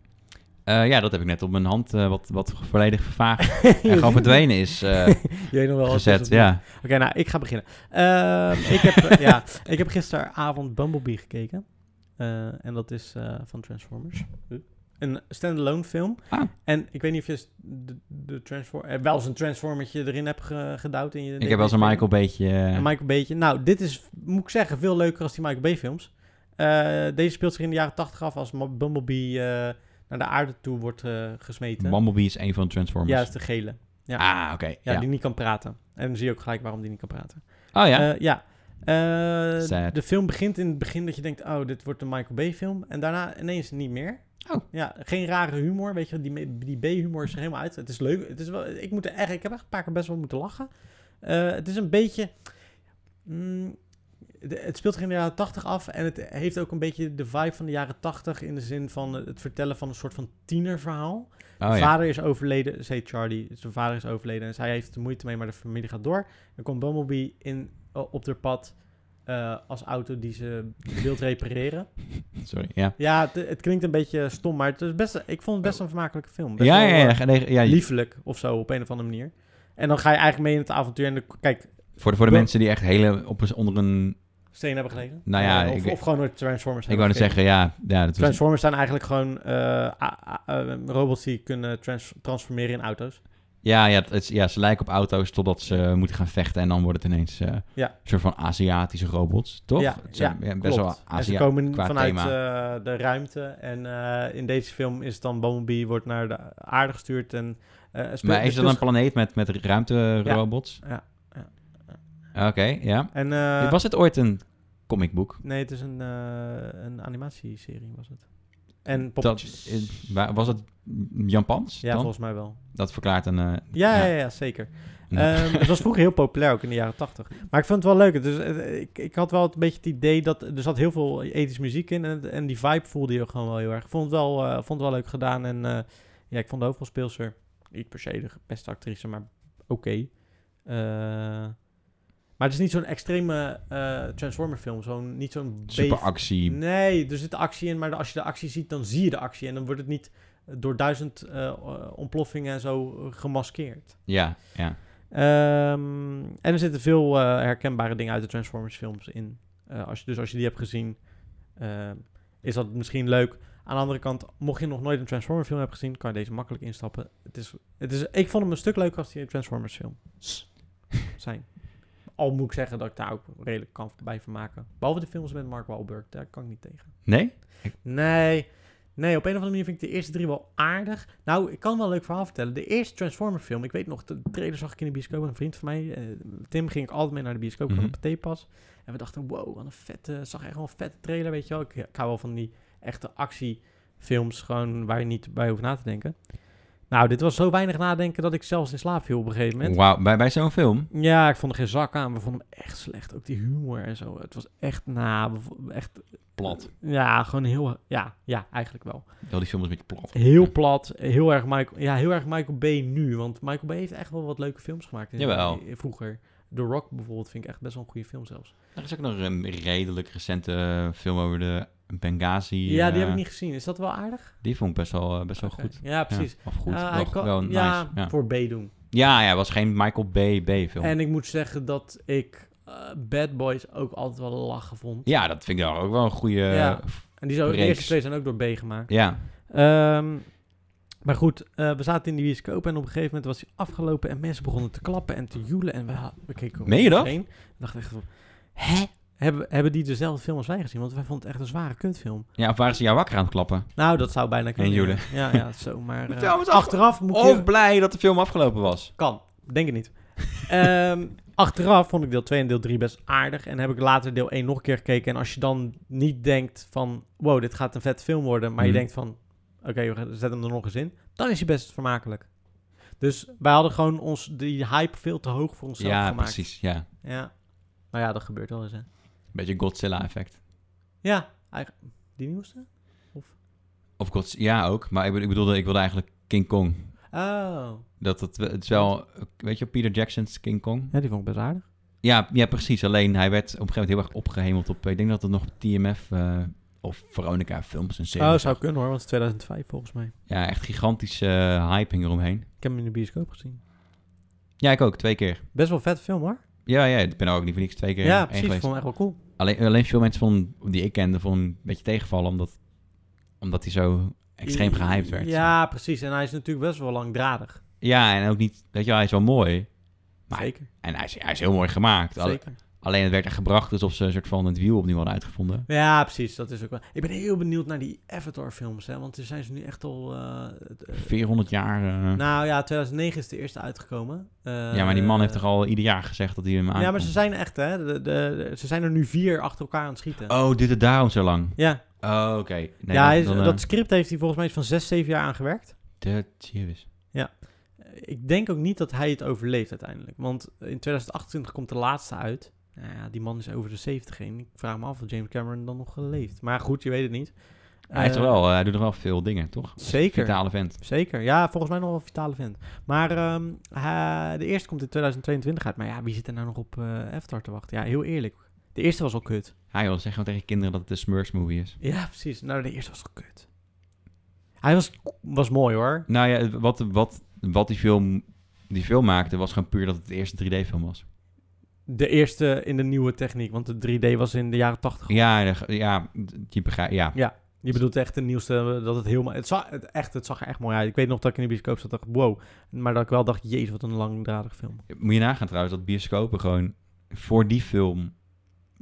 S2: Eh, ja, dat heb ik net op mijn hand, eh, wat, wat volledig vervaagd en
S1: Je
S2: Ah, gewoon verdwenen is eh,
S1: weet nog wel wat
S2: gezet.
S1: het is.
S2: Ja.
S1: Oké, nou, ik ga beginnen. Ehm, ik, heb, eh, ja, ik heb gisteravond Bumblebee gekeken. Eh, en dat is eh, van Transformers. Een standalone film.
S2: Ah.
S1: En ik weet niet of je de, de transform, eh, wel eens een Transformertje erin hebt ge- gedouwd. In je
S2: Ik heb wel zo'n
S1: DVD-speler.
S2: Michael beetje... eh,
S1: En Michael Bay'tje. Nou, dit is, moet ik zeggen, veel leuker als die Michael Bay films. Eh, deze speelt zich in de jaren 80 af als Ma- Bumblebee eh, naar de aarde toe wordt eh, gesmeten.
S2: Bumblebee is een van de Transformers.
S1: ja, is de gele.
S2: Ah, oké.
S1: Ja,
S2: ja.
S1: die niet kan praten. En dan zie je ook gelijk waarom die niet kan praten.
S2: Oh ja?
S1: Eh, ja. Eh,
S2: Sad.
S1: de film begint in het begin dat je denkt, oh, dit wordt een Michael Bay film. En daarna ineens niet meer.
S2: Oh.
S1: Ja, geen rare humor, weet je, die, die B-humor is er helemaal uit. Het is leuk, het is wel, ik, moet er echt, ik heb echt een paar keer best wel moeten lachen. Eh, het is een beetje, mm, de- het speelt zich in de jaren 80 af en het heeft ook een beetje de vibe van de jaren 80 in de zin van het vertellen van een soort van tienerverhaal.
S2: oh,
S1: Zijn
S2: ja.
S1: Eh, vader is overleden, zei Charlie. Zijn vader is overleden en zij heeft er moeite mee, maar de familie gaat door. Dan komt Bumblebee in, op haar pad eh, als auto die ze wilt repareren.
S2: Sorry, ja.
S1: Ja, het, het klinkt een beetje stom, maar het is best, ik vond het best een vermakelijke film. Best
S2: Ja,
S1: wel,
S2: ja,
S1: eh,
S2: ja. ge- nee, ja,
S1: Liefelijk of zo, op een of andere manier. En dan ga je eigenlijk mee in het avontuur. En dan, kijk,
S2: Voor de, voor de
S1: Wel-
S2: mensen die echt hele op een, onder een...
S1: steen hebben gelegen.
S2: Nou ja,
S1: Eh, of,
S2: ik-
S1: of gewoon door Transformers.
S2: Ik
S1: hebben
S2: wou net
S1: gekeken.
S2: zeggen, ja. ja dat was,
S1: Transformers zijn eigenlijk gewoon eh, a- a- eh, robots die kunnen trans- transformeren in auto's.
S2: ja, ja, het, is- ja, ze lijken op auto's totdat ze eh, moeten gaan vechten. En dan wordt het ineens eh,
S1: Ja.
S2: een soort van Aziatische robots, toch?
S1: Ja,
S2: Het zijn,
S1: ja,
S2: best wel
S1: klopt. En ze
S2: Aziatisch.
S1: komen
S2: qua
S1: vanuit
S2: thema.
S1: eh, de ruimte. En eh, in deze film is het dan Bumblebee wordt naar de aarde gestuurd. En, eh, speelt-
S2: Maar is dat
S1: speelt-
S2: een planeet met, met ruimterobots?
S1: Ja,
S2: Oké, ja.
S1: en, eh,
S2: Was het ooit een comicboek?
S1: Nee, het is een, eh, een animatieserie was het. En
S2: Dat,
S1: poppetjes.
S2: eh, wa- was het Jan Pans
S1: ja,
S2: dan?
S1: volgens mij wel.
S2: Dat verklaart een... eh,
S1: Ja, ja. ja, zeker.
S2: Ja.
S1: Ehm, het was vroeger heel populair, ook in de jaren tachtig. Maar ik vond het wel leuk. Dus, ik, ik had wel een beetje het idee dat... Er zat heel veel ethische muziek in. En, en die vibe voelde je ook gewoon wel heel erg. Ik vond het wel, eh, vond het wel leuk gedaan. En eh, ja, ik vond de hoofdrolspeelster... Niet per se de beste actrice, maar oké. Eh, maar het is niet zo'n extreme eh Transformer film. Zo'n, niet zo'n... beest-
S2: superactie.
S1: Nee, er zit actie in, maar als je de actie ziet, dan zie je de actie. En dan wordt het niet door duizend eh, eh, ontploffingen en zo gemaskeerd.
S2: Ja, ja.
S1: Ehm, en er zitten veel eh, herkenbare dingen uit de Transformers films in. Eh, als je, dus als je die hebt gezien, eh, is dat misschien leuk. Aan de andere kant, mocht je nog nooit een Transformers film hebben gezien, kan je deze makkelijk instappen. Het is, het is, ik vond hem een stuk leuker als die Transformers film zijn. Al moet ik zeggen dat ik daar ook redelijk kan bij vermaken. Behalve de films met Mark Wahlberg, daar kan ik niet tegen.
S2: Nee?
S1: Nee. Nee, op een of andere manier vind ik de eerste drie wel aardig. Nou, ik kan wel een leuk verhaal vertellen. De eerste Transformer film, ik weet nog, de trailer zag ik in de bioscoop. Een vriend van mij, eh, Tim, ging ik altijd mee naar de bioscoop van
S2: Mhm.
S1: de Pathé-pas. En we dachten, wow, wat een vette, het zag echt wel een vette trailer, weet je wel. Ik, ik hou wel van die echte actiefilms, gewoon waar je niet bij hoeft na te denken. Nou, dit was zo weinig nadenken dat ik zelfs in slaap viel op een gegeven moment.
S2: Wauw, bij, bij zo'n film?
S1: Ja, ik vond er geen zak aan. We vonden hem echt slecht. Ook die humor en zo. Het was echt, na, we vonden hem echt...
S2: Plat.
S1: Eh, Ja, gewoon heel... Ja, ja, eigenlijk wel.
S2: Wel, die film is een beetje plat.
S1: Heel plat. Heel erg Michael, ja, heel erg Michael Bay nu. Want Michael Bay heeft echt wel wat leuke films gemaakt. in-
S2: Jawel.
S1: in- Vroeger. The Rock bijvoorbeeld vind ik echt best wel een goede film zelfs.
S2: Er is ook nog een redelijk recente eh, film over de Benghazi.
S1: ja, die
S2: eh,
S1: heb ik niet gezien. Is dat wel aardig?
S2: Die vond ik best wel, eh, best wel
S1: Oké.
S2: goed.
S1: Ja, precies.
S2: Ja, of goed,
S1: Ja,
S2: wel,
S1: hij kan-
S2: wel nice.
S1: ja,
S2: Ja, ja.
S1: voor B doen.
S2: ja, het was geen Michael Bay B-film.
S1: En ik moet zeggen dat ik eh, Bad Boys ook altijd wel lachen vond.
S2: Ja, dat vind ik dan ook wel een goede...
S1: Ja.
S2: Ja.
S1: En die zo, de
S2: Reeks.
S1: eerste twee zijn ook door B gemaakt.
S2: ja.
S1: Ehm, maar goed, eh, we zaten in de bioscoop en op een gegeven moment was hij afgelopen en mensen begonnen te klappen en te joelen. En we, ha- we keken om
S2: Meen je
S1: ons
S2: dat?
S1: heen. Ik dacht echt van, hè? Hebben, hebben die dezelfde film als wij gezien? Want wij vonden het echt een zware kuntfilm.
S2: of waren ze jou wakker aan het klappen?
S1: Nou, dat zou bijna kunnen.
S2: joelen.
S1: Ja, ja, zo. Maar eh,
S2: Vertel eens af-
S1: achteraf moet je...
S2: Of blij dat de film afgelopen was.
S1: Kan. Denk het niet. Ehm, achteraf vond ik deel 2 en deel 3 best aardig. En heb ik later deel 1 nog een keer gekeken. En als je dan niet denkt van... Wow, dit gaat een vet film worden. Maar je
S2: Mhm.
S1: denkt van... Oké, we gaan- zet hem er nog eens in. Dan is hij best vermakelijk. Dus wij hadden gewoon ons, die hype veel te hoog voor onszelf
S2: ja,
S1: gemaakt.
S2: precies. Ja.
S1: Ja, Nou ja, dat gebeurt wel eens, hè.
S2: Beetje Godzilla-effect.
S1: Ja, eigen- die nieuwste?
S2: Of Gods Ja, ook. Maar ik, bedo- ik bedoelde, ik wilde eigenlijk King Kong.
S1: Oh.
S2: Dat het, het is wel... eh, Weet je, Peter Jackson's King Kong?
S1: Ja, die vond ik best aardig.
S2: Ja, ja, precies. Alleen hij werd op een gegeven moment heel erg opgehemeld op... eh, Ik denk dat het nog TMF eh, of Veronica films en series.
S1: Oh, zou kunnen hoor, want het is 2005 volgens mij.
S2: Ja, echt gigantische eh, hyping eromheen.
S1: Ik heb hem in de bioscoop gezien.
S2: Ja, ik ook. Twee keer.
S1: Best wel vet film hoor.
S2: Ja, ja. Ik ben er ook niet voor niks twee keer
S1: Ja,
S2: heen
S1: precies. Ik
S2: geweest.
S1: vond hem echt wel cool.
S2: Alleen, alleen veel mensen vonden, die ik kende vonden een beetje tegenvallen omdat, omdat hij zo extreem gehyped werd.
S1: Ja, precies. En hij is natuurlijk best wel langdradig.
S2: Ja, en ook niet, weet je wel, hij is wel mooi. Maar-
S1: Zeker.
S2: En hij is, hij is heel mooi gemaakt. Alle-
S1: Zeker.
S2: alleen het werd er gebracht alsof ze een soort van het wiel opnieuw hadden uitgevonden.
S1: Ja, precies. Dat is ook wel. Ik ben heel benieuwd naar die Avatar-films, hè? Want er zijn ze nu echt al. eh, het, eh,
S2: 400 jaar. eh,
S1: nou ja, 2009 is de eerste uitgekomen. Eh,
S2: ja, maar die man heeft toch al ieder jaar gezegd dat hij hem aan.
S1: Ja, maar ze zijn echt, hè? De, de, de- ze zijn er nu vier achter elkaar aan het schieten.
S2: Oh, dit het daarom zo lang.
S1: Ja,
S2: Oh, oké. Nee,
S1: ja
S2: dan-
S1: hij is-
S2: dan, eh,
S1: dat script heeft hij volgens mij van zes, zeven jaar aan gewerkt.
S2: De Jezus.
S1: Eh, Ik denk ook niet dat hij het overleeft uiteindelijk. Want in 2028 komt de laatste uit. Nou ja, die man is over de 70 heen. Ik vraag me af of James Cameron dan nog eh, leeft. Maar goed, je weet het niet.
S2: Hij, heeft
S1: Eh,
S2: er wel, eh, hij doet er wel veel dingen, toch?
S1: Zeker.
S2: Vitale vent.
S1: Zeker. Ja, volgens mij nog wel een vitale vent. Maar ehm, hij- de eerste komt in 2022 uit. Maar ja, wie zit er nou nog op eh Avatar te wachten? Ja, heel eerlijk. De eerste was al kut.
S2: Hij wil zeggen tegen kinderen dat het een Smurfs movie is.
S1: Ja, precies. Nou, de eerste was al kut. Hij was, was mooi hoor.
S2: Nou ja, wat, wat, wat die, film, die film maakte was gewoon puur dat het de eerste 3D-film was.
S1: De eerste in de nieuwe techniek. Want de 3D was in de jaren 80.
S2: Ja, de- ja, die begrijp, ja.
S1: Je bedoelt echt de nieuwste, eh, dat het helemaal... Het, zag, het, echt, het zag er echt mooi uit. Ik weet nog dat ik in de bioscoop zat en dacht, wow. Maar dat ik wel dacht, jezus, wat een langdradig film.
S2: Moet je nagaan trouwens dat bioscopen gewoon voor die film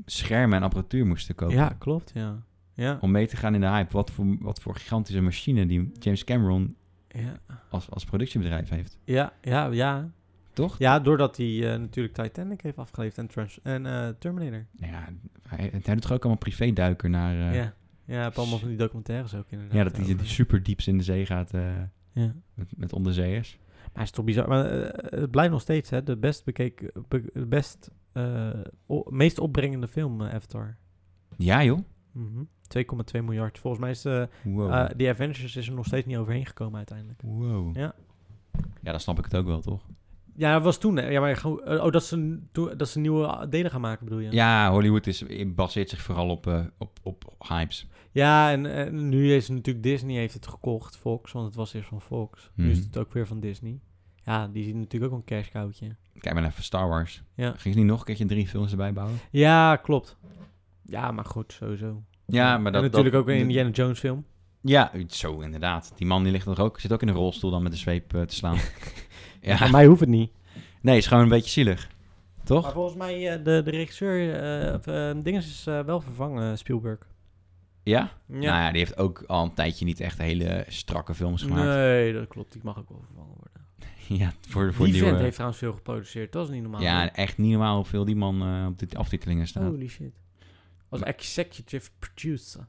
S2: schermen en apparatuur moesten kopen.
S1: Ja, klopt, ja. Ja,
S2: Om mee te gaan in de hype. Wat voor, wat voor gigantische machine die James Cameron
S1: ja,
S2: als, als productiebedrijf heeft.
S1: ja, ja, ja.
S2: Toch?
S1: Ja, doordat hij eh, natuurlijk Titanic heeft afgeleefd en, Trans en eh, Terminator.
S2: Nou ja, hij, hij doet toch ook allemaal privéduiken naar... eh, ja.
S1: Ja. ja, heb allemaal van die documentaires ook inderdaad.
S2: dat hij
S1: over.
S2: super dieps in de zee gaat eh,
S1: Ja.
S2: met, met onderzeeërs.
S1: Maar het is toch bizar. Maar eh, het blijft nog steeds hè, de best bekeken, be- de best, eh, o- meest opbrengende film, eh, Avatar.
S2: Ja joh.
S1: Mhm. 2,2 miljard. Volgens mij is eh,
S2: Wow.
S1: eh, die Avengers is er nog steeds niet overheen gekomen uiteindelijk.
S2: Wow.
S1: Ja.
S2: Ja, dan snap ik het ook wel, toch?
S1: Ja, dat was toen. hè. Ja, maar gewoon- eh, oh, dat ze, toen- dat ze nieuwe eh, delen gaan maken, bedoel je?
S2: Ja, Hollywood is, baseert zich vooral op, eh, op, op hypes.
S1: Ja, en, en nu is het natuurlijk Disney heeft het gekocht, Fox, want het was eerst van Fox. Nu is
S2: Mhm.
S1: het ook weer van Disney. Ja, die ziet natuurlijk ook een kerstkoudje.
S2: Kijk maar even Star Wars.
S1: Ja.
S2: Ging ze niet nog een keertje drie films erbij bouwen?
S1: Ja, klopt. Ja, maar goed, sowieso.
S2: Ja, maar dat...
S1: en natuurlijk
S2: dat-
S1: ook een Indiana Jones film.
S2: Ja, zo inderdaad. Die man die ligt er ook, zit ook in een rolstoel dan met een zweep eh, te slaan.
S1: Van
S2: ja.
S1: mij hoeft het niet.
S2: Nee, is gewoon een beetje zielig.
S1: Maar
S2: Toch?
S1: volgens mij, eh, de, de regisseur, eh, of, eh, Dinges is eh, wel vervangen, Spielberg.
S2: Ja?
S1: Ja.
S2: Nou ja, die heeft ook al een tijdje niet echt hele strakke films gemaakt.
S1: nee, dat klopt. Die mag ook wel vervangen worden.
S2: ja, voor, voor
S1: die
S2: nieuwe...
S1: vent heeft trouwens veel geproduceerd. Dat is niet normaal.
S2: Ja, echt niet normaal hoeveel die man eh, op de aftitelingen
S1: hoor.
S2: staat.
S1: Holy shit. Als
S2: Maar-
S1: executive producer.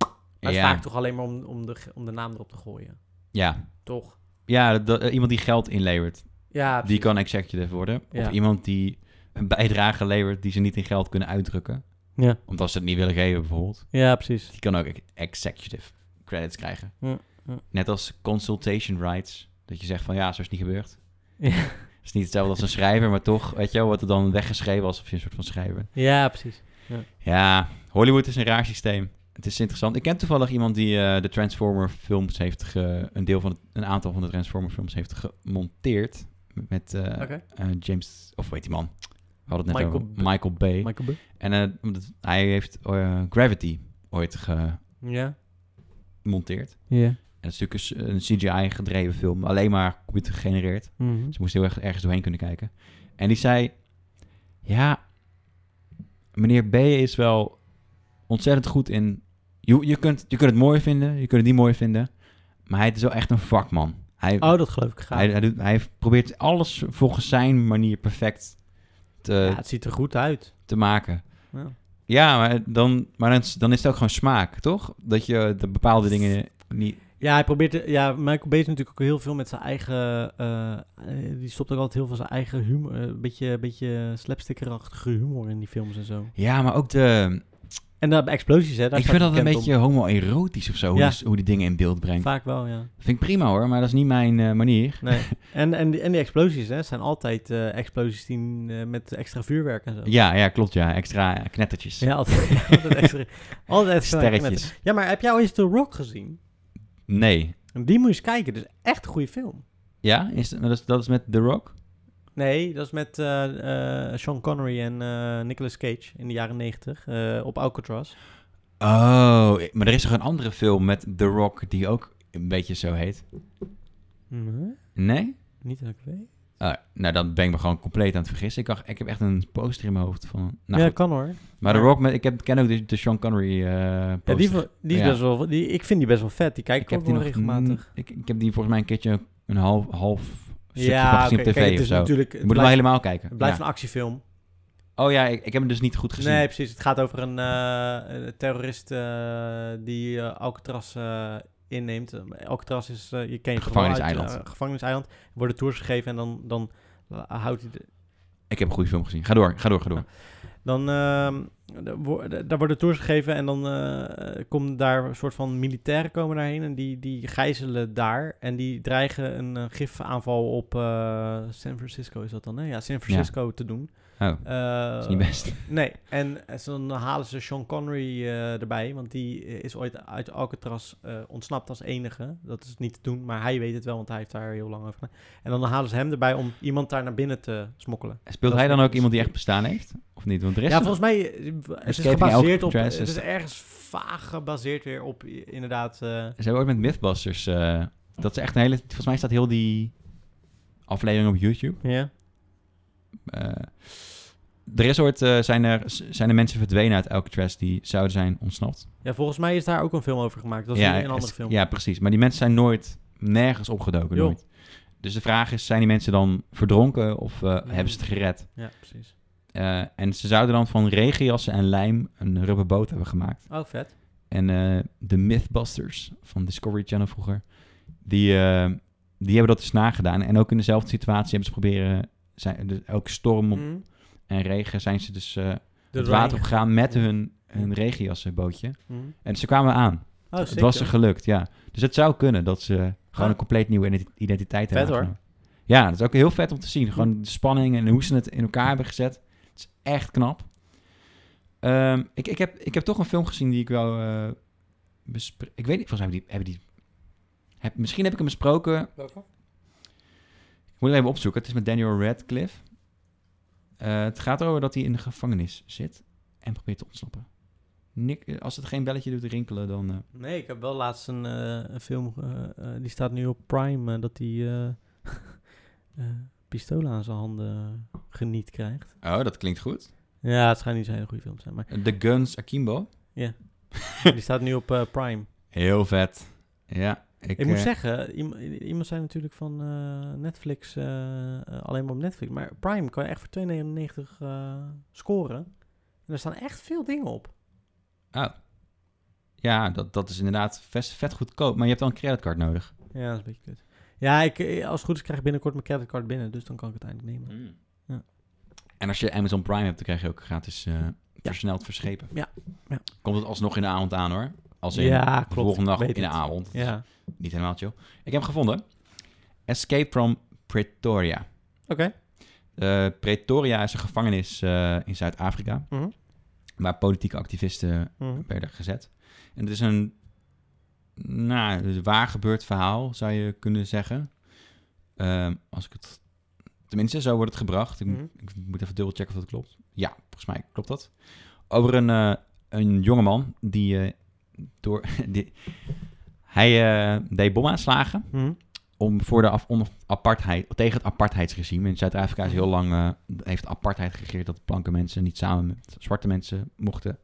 S1: Maar het is
S2: ja,
S1: vaak toch alleen maar om, om, de, om de naam erop te gooien.
S2: ja,
S1: Toch?
S2: ja, dat- eh, iemand die geld inlevert,
S1: Ja,
S2: die kan executive worden.
S1: Ja.
S2: Of iemand die een bijdrage levert die ze niet in geld kunnen uitdrukken.
S1: Ja.
S2: Omdat ze het niet willen geven, bijvoorbeeld.
S1: ja, precies.
S2: Die kan ook ex- executive credits krijgen.
S1: Ja, ja.
S2: Net als consultation rights. Dat je zegt van ja, zo is het niet gebeurd.
S1: Ja.
S2: Het is niet hetzelfde als een schrijver, maar toch, weet je wel, wordt er dan weggeschreven alsof je een soort van schrijver bent.
S1: Ja, precies.
S2: Ja, Hollywood is een raar systeem. Het is interessant. Ik ken toevallig iemand die eh, de Transformer films heeft ge, een deel van het- een aantal van de Transformer films heeft gemonteerd met eh,
S1: Oké.
S2: eh, James of weet die man. We hadden het net
S1: Michael
S2: over Michael Bay.
S1: Michael Bay.
S2: en eh, omdat hij heeft eh, Gravity ooit
S1: Ja.
S2: gemonteerd.
S1: Ja.
S2: En dat is natuurlijk een CGI gedreven film, alleen maar computer gegenereerd.
S1: Mhm.
S2: Ze moest heel erg ergens doorheen kunnen kijken. En die zei: Ja, meneer B is wel ontzettend goed in. Je, je, kunt, je kunt het mooi vinden, je kunt het niet mooi vinden. Maar hij is wel echt een vakman. Hij,
S1: Oh, dat geloof ik graag.
S2: hij, hij, doet- hij probeert alles volgens zijn manier perfect te,
S1: ja, het ziet er goed uit.
S2: te maken.
S1: Ja.
S2: Ja, maar, dan, maar dan, is- dan is het ook gewoon smaak, toch? Dat je de bepaalde dingen niet.
S1: Ja, hij probeert... Ja, Michael Bay is natuurlijk ook heel veel met zijn eigen... eh, eh, die stopt ook altijd heel veel zijn eigen humor. eh, Een beetje, beetje slapstickerachtige humor in die films en zo.
S2: Ja, maar ook de.
S1: En daar explosies, hè. Daar
S2: ik
S1: staat
S2: vind dat
S1: hij
S2: een
S1: bekend
S2: beetje homoerotisch of zo, hoe,
S1: Ja.
S2: die, hoe die dingen in beeld
S1: om.
S2: brengt.
S1: Vaak wel, ja.
S2: Vind ik prima hoor, maar dat is niet mijn eh, manier.
S1: Nee. en, en, die, en die explosies, hè. zijn altijd eh, explosies die, eh, met extra vuurwerk en zo.
S2: Ja, ja, klopt ja. Extra knettertjes.
S1: Ja, altijd, altijd extra... Altijd extra
S2: Sterretjes.
S1: Ja, maar heb jij al eens The Rock gezien?
S2: Nee.
S1: En die moet je eens kijken. Dat is echt een goede film.
S2: Ja? Is, dat, is, dat is met The Rock?
S1: Nee, dat is met eh, eh, Sean Connery en eh, Nicolas Cage in de jaren negentig eh, op Alcatraz.
S2: Oh, maar er is toch een andere film met The Rock die ook een beetje zo heet?
S1: Nee,
S2: Nee?
S1: niet dat ik weet.
S2: Oh, nou, dan ben ik me gewoon compleet aan het vergissen. Ik, dacht, ik heb echt een poster in mijn hoofd van... Nou,
S1: ja,
S2: goed.
S1: kan hoor.
S2: Maar The Rock, met, ik heb, ken ook de, de Sean Connery eh
S1: Ja,
S2: poster.
S1: die, vo- die is
S2: Ja.
S1: best wel, die, ik vind die best wel vet. Die kijk ik, ook wel regelmatig.
S2: n- Ik, ik heb die volgens mij een keertje een half, half stukje van
S1: Ja,
S2: gezien
S1: oké,
S2: op tv
S1: kijk, het
S2: of
S1: is
S2: zo. Je
S1: natuurlijk... Het
S2: moet hem wel
S1: blijft,
S2: helemaal kijken.
S1: het blijft
S2: Ja.
S1: een actiefilm.
S2: Oh ja, ik, ik heb hem dus niet goed gezien.
S1: Nee, precies. Het gaat over een eh, eh, terrorist eh, die eh, Alcatraz eh, inneemt. Eh, Alcatraz is, eh, je kent het wel uit,
S2: Gevangeniseiland.
S1: eh, gevangeniseiland. Er worden tours gegeven en dan, dan eh, houdt hij... De,
S2: Ik heb een goede film gezien. Ga door, ga door, ga door.
S1: dan, ehm, er wo- er- daar worden tours gegeven en dan eh, eh, komen daar een soort van militairen komen daarheen. En die, die gijzelen daar en die dreigen een eh, gifaanval op eh, San Francisco is dat dan, hè? Ja, San Francisco te doen.
S2: Oh, dat
S1: Eh,
S2: is niet best.
S1: Nee, en eh, ze- dan halen ze Sean Connery eh, erbij, want die eh, is ooit uit Alcatraz eh, ontsnapt als enige. Dat is niet te doen, maar hij weet het wel, want hij heeft daar heel lang over. gedaan. En dan halen ze hem erbij om iemand daar naar binnen te smokkelen.
S2: Speelt
S1: Dat
S2: hij dan
S1: is-
S2: ook iemand die echt bestaan heeft? Of niet? Want de rest
S1: Ja,
S2: is-
S1: volgens mij eh, het is
S2: Escaping
S1: gebaseerd op.
S2: Alcatraz
S1: Het
S2: is
S1: is ergens vaag gebaseerd weer op i- inderdaad. eh,
S2: Ze hebben ooit met Mythbusters... eh, dat is echt een hele... Volgens mij staat heel die aflevering op YouTube.
S1: ja.
S2: Eh, er is ooit... eh, zijn, er, s- zijn er mensen verdwenen uit Alcatraz die zouden zijn ontsnapt?
S1: ja, volgens mij is daar ook een film over gemaakt. Dat is
S2: ja,
S1: weer een andere
S2: is-
S1: film.
S2: Ja, precies. Maar die mensen zijn nooit nergens opgedoken.
S1: Joh.
S2: Nooit. Dus de vraag is, zijn die mensen dan verdronken of eh, hebben ze het gered?
S1: Ja, precies.
S2: Eh, en ze zouden dan van regenjassen en lijm een rubberboot hebben gemaakt.
S1: Oh, vet.
S2: En eh, de Mythbusters van Discovery Channel vroeger, die, eh, die hebben dat dus nagedaan. En ook in dezelfde situatie hebben ze proberen, zijn, dus elke storm op
S1: Mm.
S2: en regen zijn ze dus eh,
S1: De
S2: het water
S1: Rijn.
S2: opgegaan met
S1: Ja.
S2: hun, hun regenjassenbootje.
S1: Mm.
S2: En ze kwamen aan.
S1: Oh,
S2: het
S1: sick,
S2: was
S1: joh.
S2: ze gelukt, ja. Dus het zou kunnen dat ze gewoon
S1: Ah.
S2: een compleet nieuwe identi- identiteit hebben
S1: Vet, hoor. Hm.
S2: aangenomen. Ja, dat is ook heel vet om te zien. Gewoon de spanning en hoe ze het in elkaar hebben gezet. Het is echt knap. Ehm, ik, ik, heb, ik heb toch een film gezien die ik wel eh bespre- Ik weet niet, volgens mij hebben die... Hebben die heb, misschien heb ik hem besproken. Ik moet hem even opzoeken. Het is met Daniel Radcliffe. Eh, het gaat erover dat hij in de gevangenis zit en probeert te ontsnappen. Nick, eh, als het geen belletje doet rinkelen, dan... eh,
S1: Nee, ik heb wel laatst een, eh, een film, eh, eh, die staat nu op Prime, eh, dat hij eh, eh, pistolen aan zijn handen eh, geniet krijgt.
S2: Oh, dat klinkt goed.
S1: Ja, het schijnt niet zo'n hele goede film te zijn, maar
S2: The Guns Akimbo.
S1: die staat nu op eh, Prime.
S2: Heel vet. Ja, ik,
S1: Ik, moet
S2: eh,
S1: zeggen, iem- iemand zei natuurlijk van eh, Netflix, eh, eh, alleen maar op Netflix, maar Prime kan je echt voor 2,99 eh, scoren. En er staan echt veel dingen op.
S2: oh. Ja, dat, dat is inderdaad vet, vet goedkoop. Maar je hebt dan een creditcard nodig.
S1: Ja, dat is een beetje kut. Ja, ik, eh, als het goed is krijg ik binnenkort mijn creditcard binnen, dus dan kan ik het eindelijk nemen. Ja.
S2: En als je Amazon Prime hebt, dan krijg je ook gratis eh, versneld verschepen.
S1: Ja, ja.
S2: Komt het alsnog in de avond aan hoor. Als in
S1: Ja,
S2: de
S1: klopt.
S2: volgende dag
S1: Ik
S2: in
S1: weet
S2: de
S1: het.
S2: avond.
S1: Ja,
S2: Niet helemaal chill. Ik heb hem gevonden. Escape from Pretoria.
S1: oké.
S2: Eh, Pretoria is een gevangenis eh, in Zuid-Afrika.
S1: Mhm.
S2: Waar politieke activisten
S1: Mhm.
S2: werden gezet. En het is een nou, een waar gebeurd verhaal, zou je kunnen zeggen. Ehm, als ik het... Tenminste, zo wordt het gebracht. Ik, moet-
S1: Mhm.
S2: ik moet even dubbel checken of dat klopt. Ja, volgens mij klopt dat. Over een, eh een jongeman die eh, door... Die, hij eh, deed bomaanslagen
S1: Mhm.
S2: om voor de af, on- apartheid, tegen het apartheidsregime. In Zuid-Afrika is heel lang eh, heeft apartheid geregeerd dat blanke mensen niet samen met zwarte mensen mochten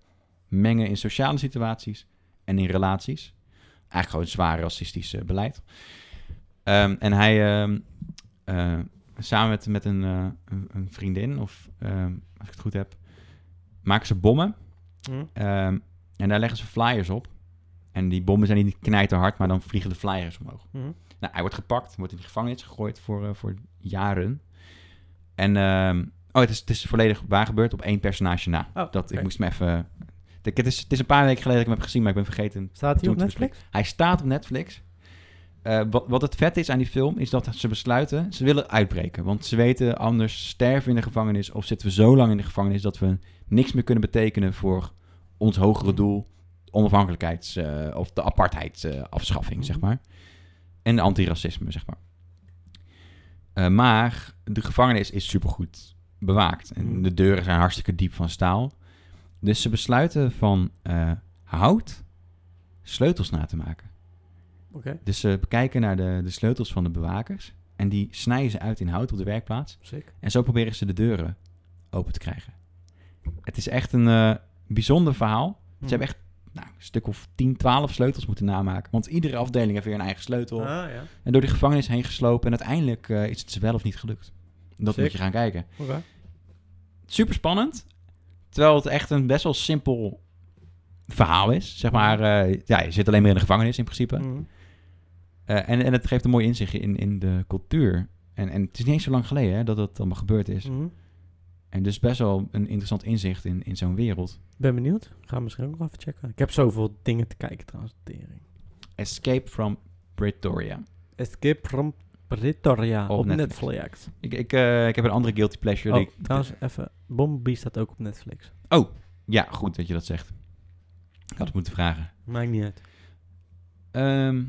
S2: mengen in sociale situaties en in relaties. Eigenlijk gewoon zwaar racistisch eh, beleid. Ehm, en hij ehm, eh, samen met, met een, eh, een, een vriendin, of ehm, als ik het goed heb, maken ze bommen.
S1: Mhm.
S2: Ehm, en daar leggen ze flyers op. En die bommen zijn niet knijterhard, maar dan vliegen de flyers omhoog.
S1: Mhm.
S2: Nou, hij wordt gepakt, wordt in de gevangenis gegooid voor, eh, voor jaren. En, ehm, oh, het is, het is volledig waar gebeurd op één personage na.
S1: Oh,
S2: dat,
S1: oké.
S2: Ik moest me even... eh, Ik, het, is, het is een paar weken geleden dat ik hem heb gezien, maar ik ben vergeten
S1: Staat hij
S2: toe
S1: op
S2: te
S1: Netflix?
S2: bespreken. dus Hij staat op Netflix. Eh, wat, wat het vet is aan die film, is dat ze besluiten, ze willen uitbreken. Want ze weten, anders sterven we in de gevangenis of zitten we zo lang in de gevangenis dat we niks meer kunnen betekenen voor ons hogere doel, onafhankelijkheids- eh, of de apartheidsafschaffing,
S1: Mhm.
S2: zeg maar. En de antiracisme, zeg maar. Eh, maar de gevangenis is supergoed bewaakt. En
S1: Mhm.
S2: de deuren zijn hartstikke diep van staal. Dus ze besluiten van eh, hout sleutels na te maken.
S1: Oké.
S2: Dus ze kijken naar de, de sleutels van de bewakers. En die snijden ze uit in hout op de werkplaats.
S1: Sick.
S2: En zo proberen ze de deuren open te krijgen. Het is echt een eh, bijzonder verhaal.
S1: Mhm. Mm.
S2: Ze hebben echt nou, een stuk of 10, 12 sleutels moeten namaken. Want iedere afdeling heeft weer een eigen sleutel.
S1: Ah, ja.
S2: En door de gevangenis heen geslopen. En uiteindelijk eh, is het ze wel of niet gelukt. Dat
S1: Sick.
S2: moet je gaan kijken.
S1: Oké.
S2: Super spannend. Terwijl het echt een best wel simpel verhaal is. Zeg maar,
S1: Mm.
S2: eh, ja, je zit alleen maar in de gevangenis in principe.
S1: Mhm.
S2: Eh, en, en het geeft een mooi inzicht in, in de cultuur. En, en het is niet eens zo lang geleden hè, dat dat allemaal gebeurd is.
S1: Mhm.
S2: En dus best wel een interessant inzicht in, in zo'n wereld.
S1: Ben benieuwd. Ga misschien ook nog even checken. Ik heb zoveel dingen te kijken trouwens. Tering.
S2: Escape from Pretoria.
S1: Escape from Pretoria
S2: Op
S1: op,
S2: Netflix.
S1: Netflix.
S2: Ik, ik, eh, ik heb een andere guilty pleasure. die
S1: Oh,
S2: ik-
S1: trouwens, even. Bombi staat ook op Netflix.
S2: Ja, goed dat je dat zegt. Ik had het moeten vragen.
S1: Maakt niet uit.
S2: Ehm,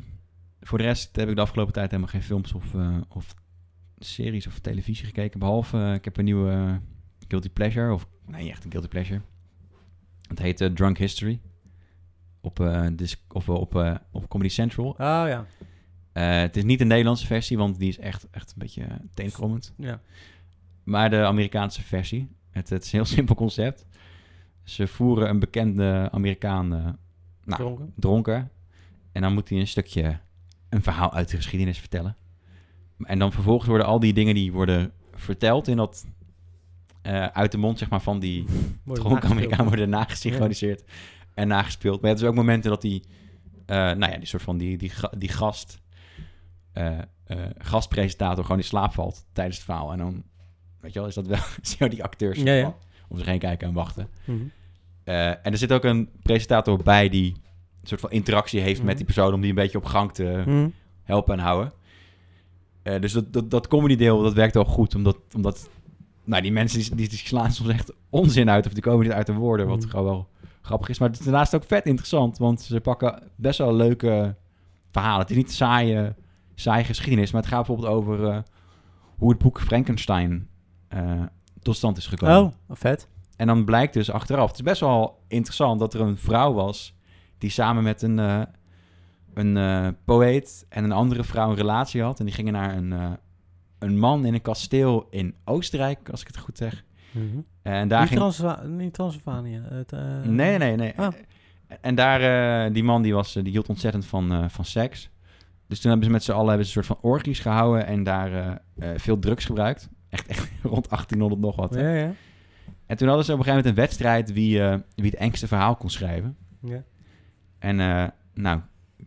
S2: voor de rest heb ik de afgelopen tijd helemaal geen films of, eh, of series of televisie gekeken. Behalve, eh, ik heb een nieuwe eh, guilty pleasure. Of, nee, niet echt een guilty pleasure. Het heet eh, Drunk History. Op, eh, dis- of, eh, op, eh, op Comedy Central.
S1: Oh ja.
S2: Eh, het is niet de Nederlandse versie, want die is echt, echt een beetje eh, teenkrommend.
S1: Ja.
S2: Maar de Amerikaanse versie. Het, het is een heel simpel concept. Ze voeren een bekende Amerikaan eh, Nou,
S1: Dronken.
S2: dronken. En dan moet hij een stukje, een verhaal uit de geschiedenis vertellen. En dan vervolgens worden al die dingen die worden verteld in dat, eh, uit de mond zeg maar, van die
S1: Mooi
S2: dronken
S1: nagespeeld.
S2: Amerikaan worden nagesynchroniseerd en nagespeeld. Maar ja, er zijn ook momenten dat die, eh, nou ja, die soort van die, die, ga- die gast, eh, eh, gastpresentator gewoon in slaap valt tijdens het verhaal. En dan, weet je wel, is dat wel zo die acteurs
S1: Ja, ja.
S2: van, om zich heen kijken en wachten.
S1: Mhm.
S2: Eh, en er zit ook een presentator bij die een soort van interactie heeft
S1: Mhm.
S2: met die persoon om die een beetje op gang te
S1: Mhm.
S2: helpen en houden. Eh, dus dat, dat, dat comedy deel, dat werkt wel goed, omdat, omdat nou, die mensen die, die, die slaan soms echt onzin uit of die komen niet uit de woorden, wat
S1: Mhm.
S2: gewoon wel grappig is. Maar het is daarnaast ook vet interessant, want ze pakken best wel leuke verhalen. Het is niet saaie, saaie geschiedenis, maar het gaat bijvoorbeeld over eh, hoe het boek Frankenstein eh, tot stand is gekomen.
S1: Oh, vet.
S2: En dan blijkt dus achteraf, het is best wel interessant dat er een vrouw was die samen met een, eh, een eh, poëet en een andere vrouw een relatie had. En die gingen naar een, eh, een man in een kasteel in Oostenrijk, als ik het goed zeg.
S1: Mhm.
S2: En daar
S1: niet,
S2: ging...
S1: Transva- niet Transylvania. Het, eh,
S2: Nee, nee, nee.
S1: Ah.
S2: En daar, eh, die man die, was, eh, die hield ontzettend van, eh, van seks. Dus toen hebben ze met z'n allen hebben ze een soort van orgies gehouden en daar eh, eh, veel drugs gebruikt. Echt, echt rond 1800 nog wat. hè.
S1: Ja, ja.
S2: En toen hadden ze op een gegeven moment
S1: Mhm.
S2: een wedstrijd wie, eh, wie het engste verhaal kon schrijven.
S1: ja.
S2: En eh, nou,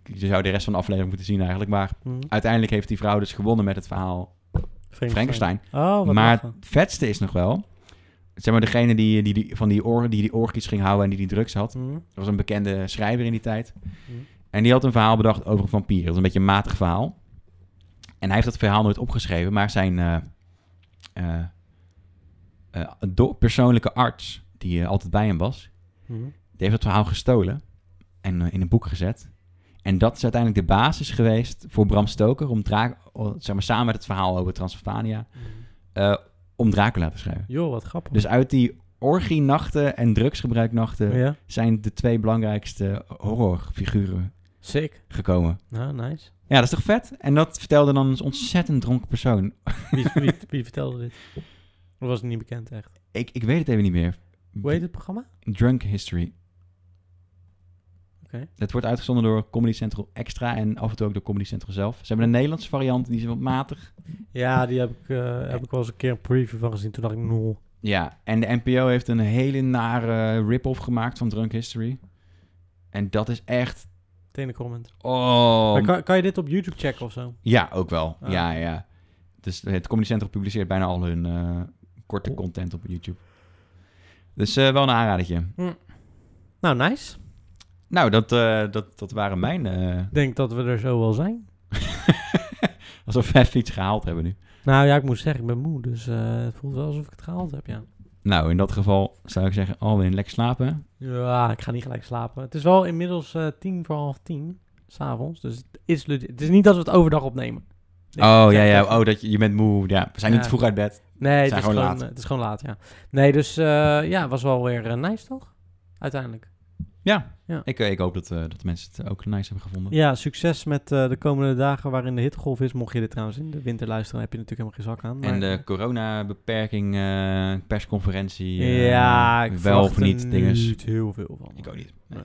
S2: je zou de rest van de aflevering moeten zien eigenlijk. Maar
S1: Hm.
S2: uiteindelijk heeft die vrouw dus gewonnen met het verhaal Frankenstein.
S1: Oh, wat
S2: maar
S1: lachen.
S2: het vetste is nog wel... Zeg maar, degene die, die, die van die, or, die die orgies ging houden en die die drugs had...
S1: Hm.
S2: Dat was een bekende schrijver in die tijd.
S1: Hm.
S2: En die had een verhaal bedacht over een vampier. Dat is een beetje een matig verhaal. En hij heeft dat verhaal nooit opgeschreven, maar zijn eh, eh, eh, do- persoonlijke arts, die eh, altijd bij hem was,
S1: Hm.
S2: die heeft het verhaal gestolen en eh, in een boek gezet. En dat is uiteindelijk de basis geweest voor Bram Stoker om Dra- o- zeg maar, samen met het verhaal over Transylvania, eh, om Dracula te schrijven.
S1: Mhm. Joh, wat grappig.
S2: Dus eh, uit die orgienachten en drugsgebruiknachten
S1: ja.
S2: zijn de twee belangrijkste horrorfiguren
S1: Sick.
S2: gekomen.
S1: Nou, nice.
S2: Ja, dat is toch vet? En dat vertelde dan een ontzettend dronken persoon.
S1: Wie, wie, wie vertelde dit? Of was het niet bekend echt?
S2: Ik, ik weet het even niet meer.
S1: Hoe heet het programma?
S2: Drunk History.
S1: Oké.
S2: Het wordt uitgezonden door Comedy Central Extra en af en toe ook door Comedy Central zelf. Ze hebben een Nederlandse variant, die is wat matig.
S1: Ja, die heb ik, eh, heb ik wel eens een keer een preview van gezien. Toen dacht ik, nul.
S2: Ja, en de NPO heeft een hele nare rip-off gemaakt van Drunk History. En dat is echt...
S1: Meteen een comment.
S2: Oh,
S1: Maar kan, kan je dit op YouTube checken of zo?
S2: Ja, ook wel.
S1: Ah.
S2: Ja, ja. Dus het Comedy Central publiceert bijna al hun eh, korte
S1: Oh.
S2: content op YouTube. Dus eh, wel een aanradertje.
S1: Nou, nice.
S2: Nou, dat, eh, dat, dat waren mijn... eh,
S1: Ik denk dat we er zo wel zijn.
S2: alsof we even iets gehaald hebben nu.
S1: Nou ja, ik moet zeggen, ik ben moe. Dus eh, het voelt wel alsof ik het gehaald heb, ja.
S2: Nou, in dat geval zou ik zeggen, Alwin, lekker slapen.
S1: Ja, ik ga niet gelijk slapen. Het is wel inmiddels eh, tien voor half tien. S'avonds. Dus het is, legit. het is niet dat we het overdag opnemen. Nee,
S2: oh, ja,
S1: zeg
S2: ja.
S1: even.
S2: Oh, dat je, je bent moe. Ja, we zijn
S1: Ja.
S2: niet vroeg uit bed.
S1: Nee, het is,
S2: zijn
S1: gewoon
S2: gewoon
S1: laat.
S2: laat.
S1: het is gewoon laat, ja. Nee, dus eh, ja, was wel weer eh, nice, toch? Uiteindelijk.
S2: Ja.
S1: Ja.
S2: Ik, eh, ik hoop dat, eh, dat de mensen het ook nice hebben gevonden.
S1: Ja, succes met eh, de komende dagen waarin de hittegolf is. Mocht je dit trouwens in de winter luisteren, heb je natuurlijk helemaal geen zak aan.
S2: En
S1: maar-
S2: de coronabeperking, eh persconferentie. eh,
S1: ja, ik
S2: wel of
S1: verwacht er
S2: niet, dinges.
S1: niet heel veel van.
S2: Ik ook niet. Nee.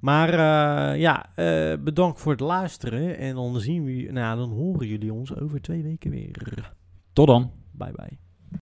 S1: Maar eh, ja, eh, bedankt voor het luisteren. En dan zien we, nou, ja, dan horen jullie ons over twee weken weer.
S2: Tot dan.
S1: Bye bye.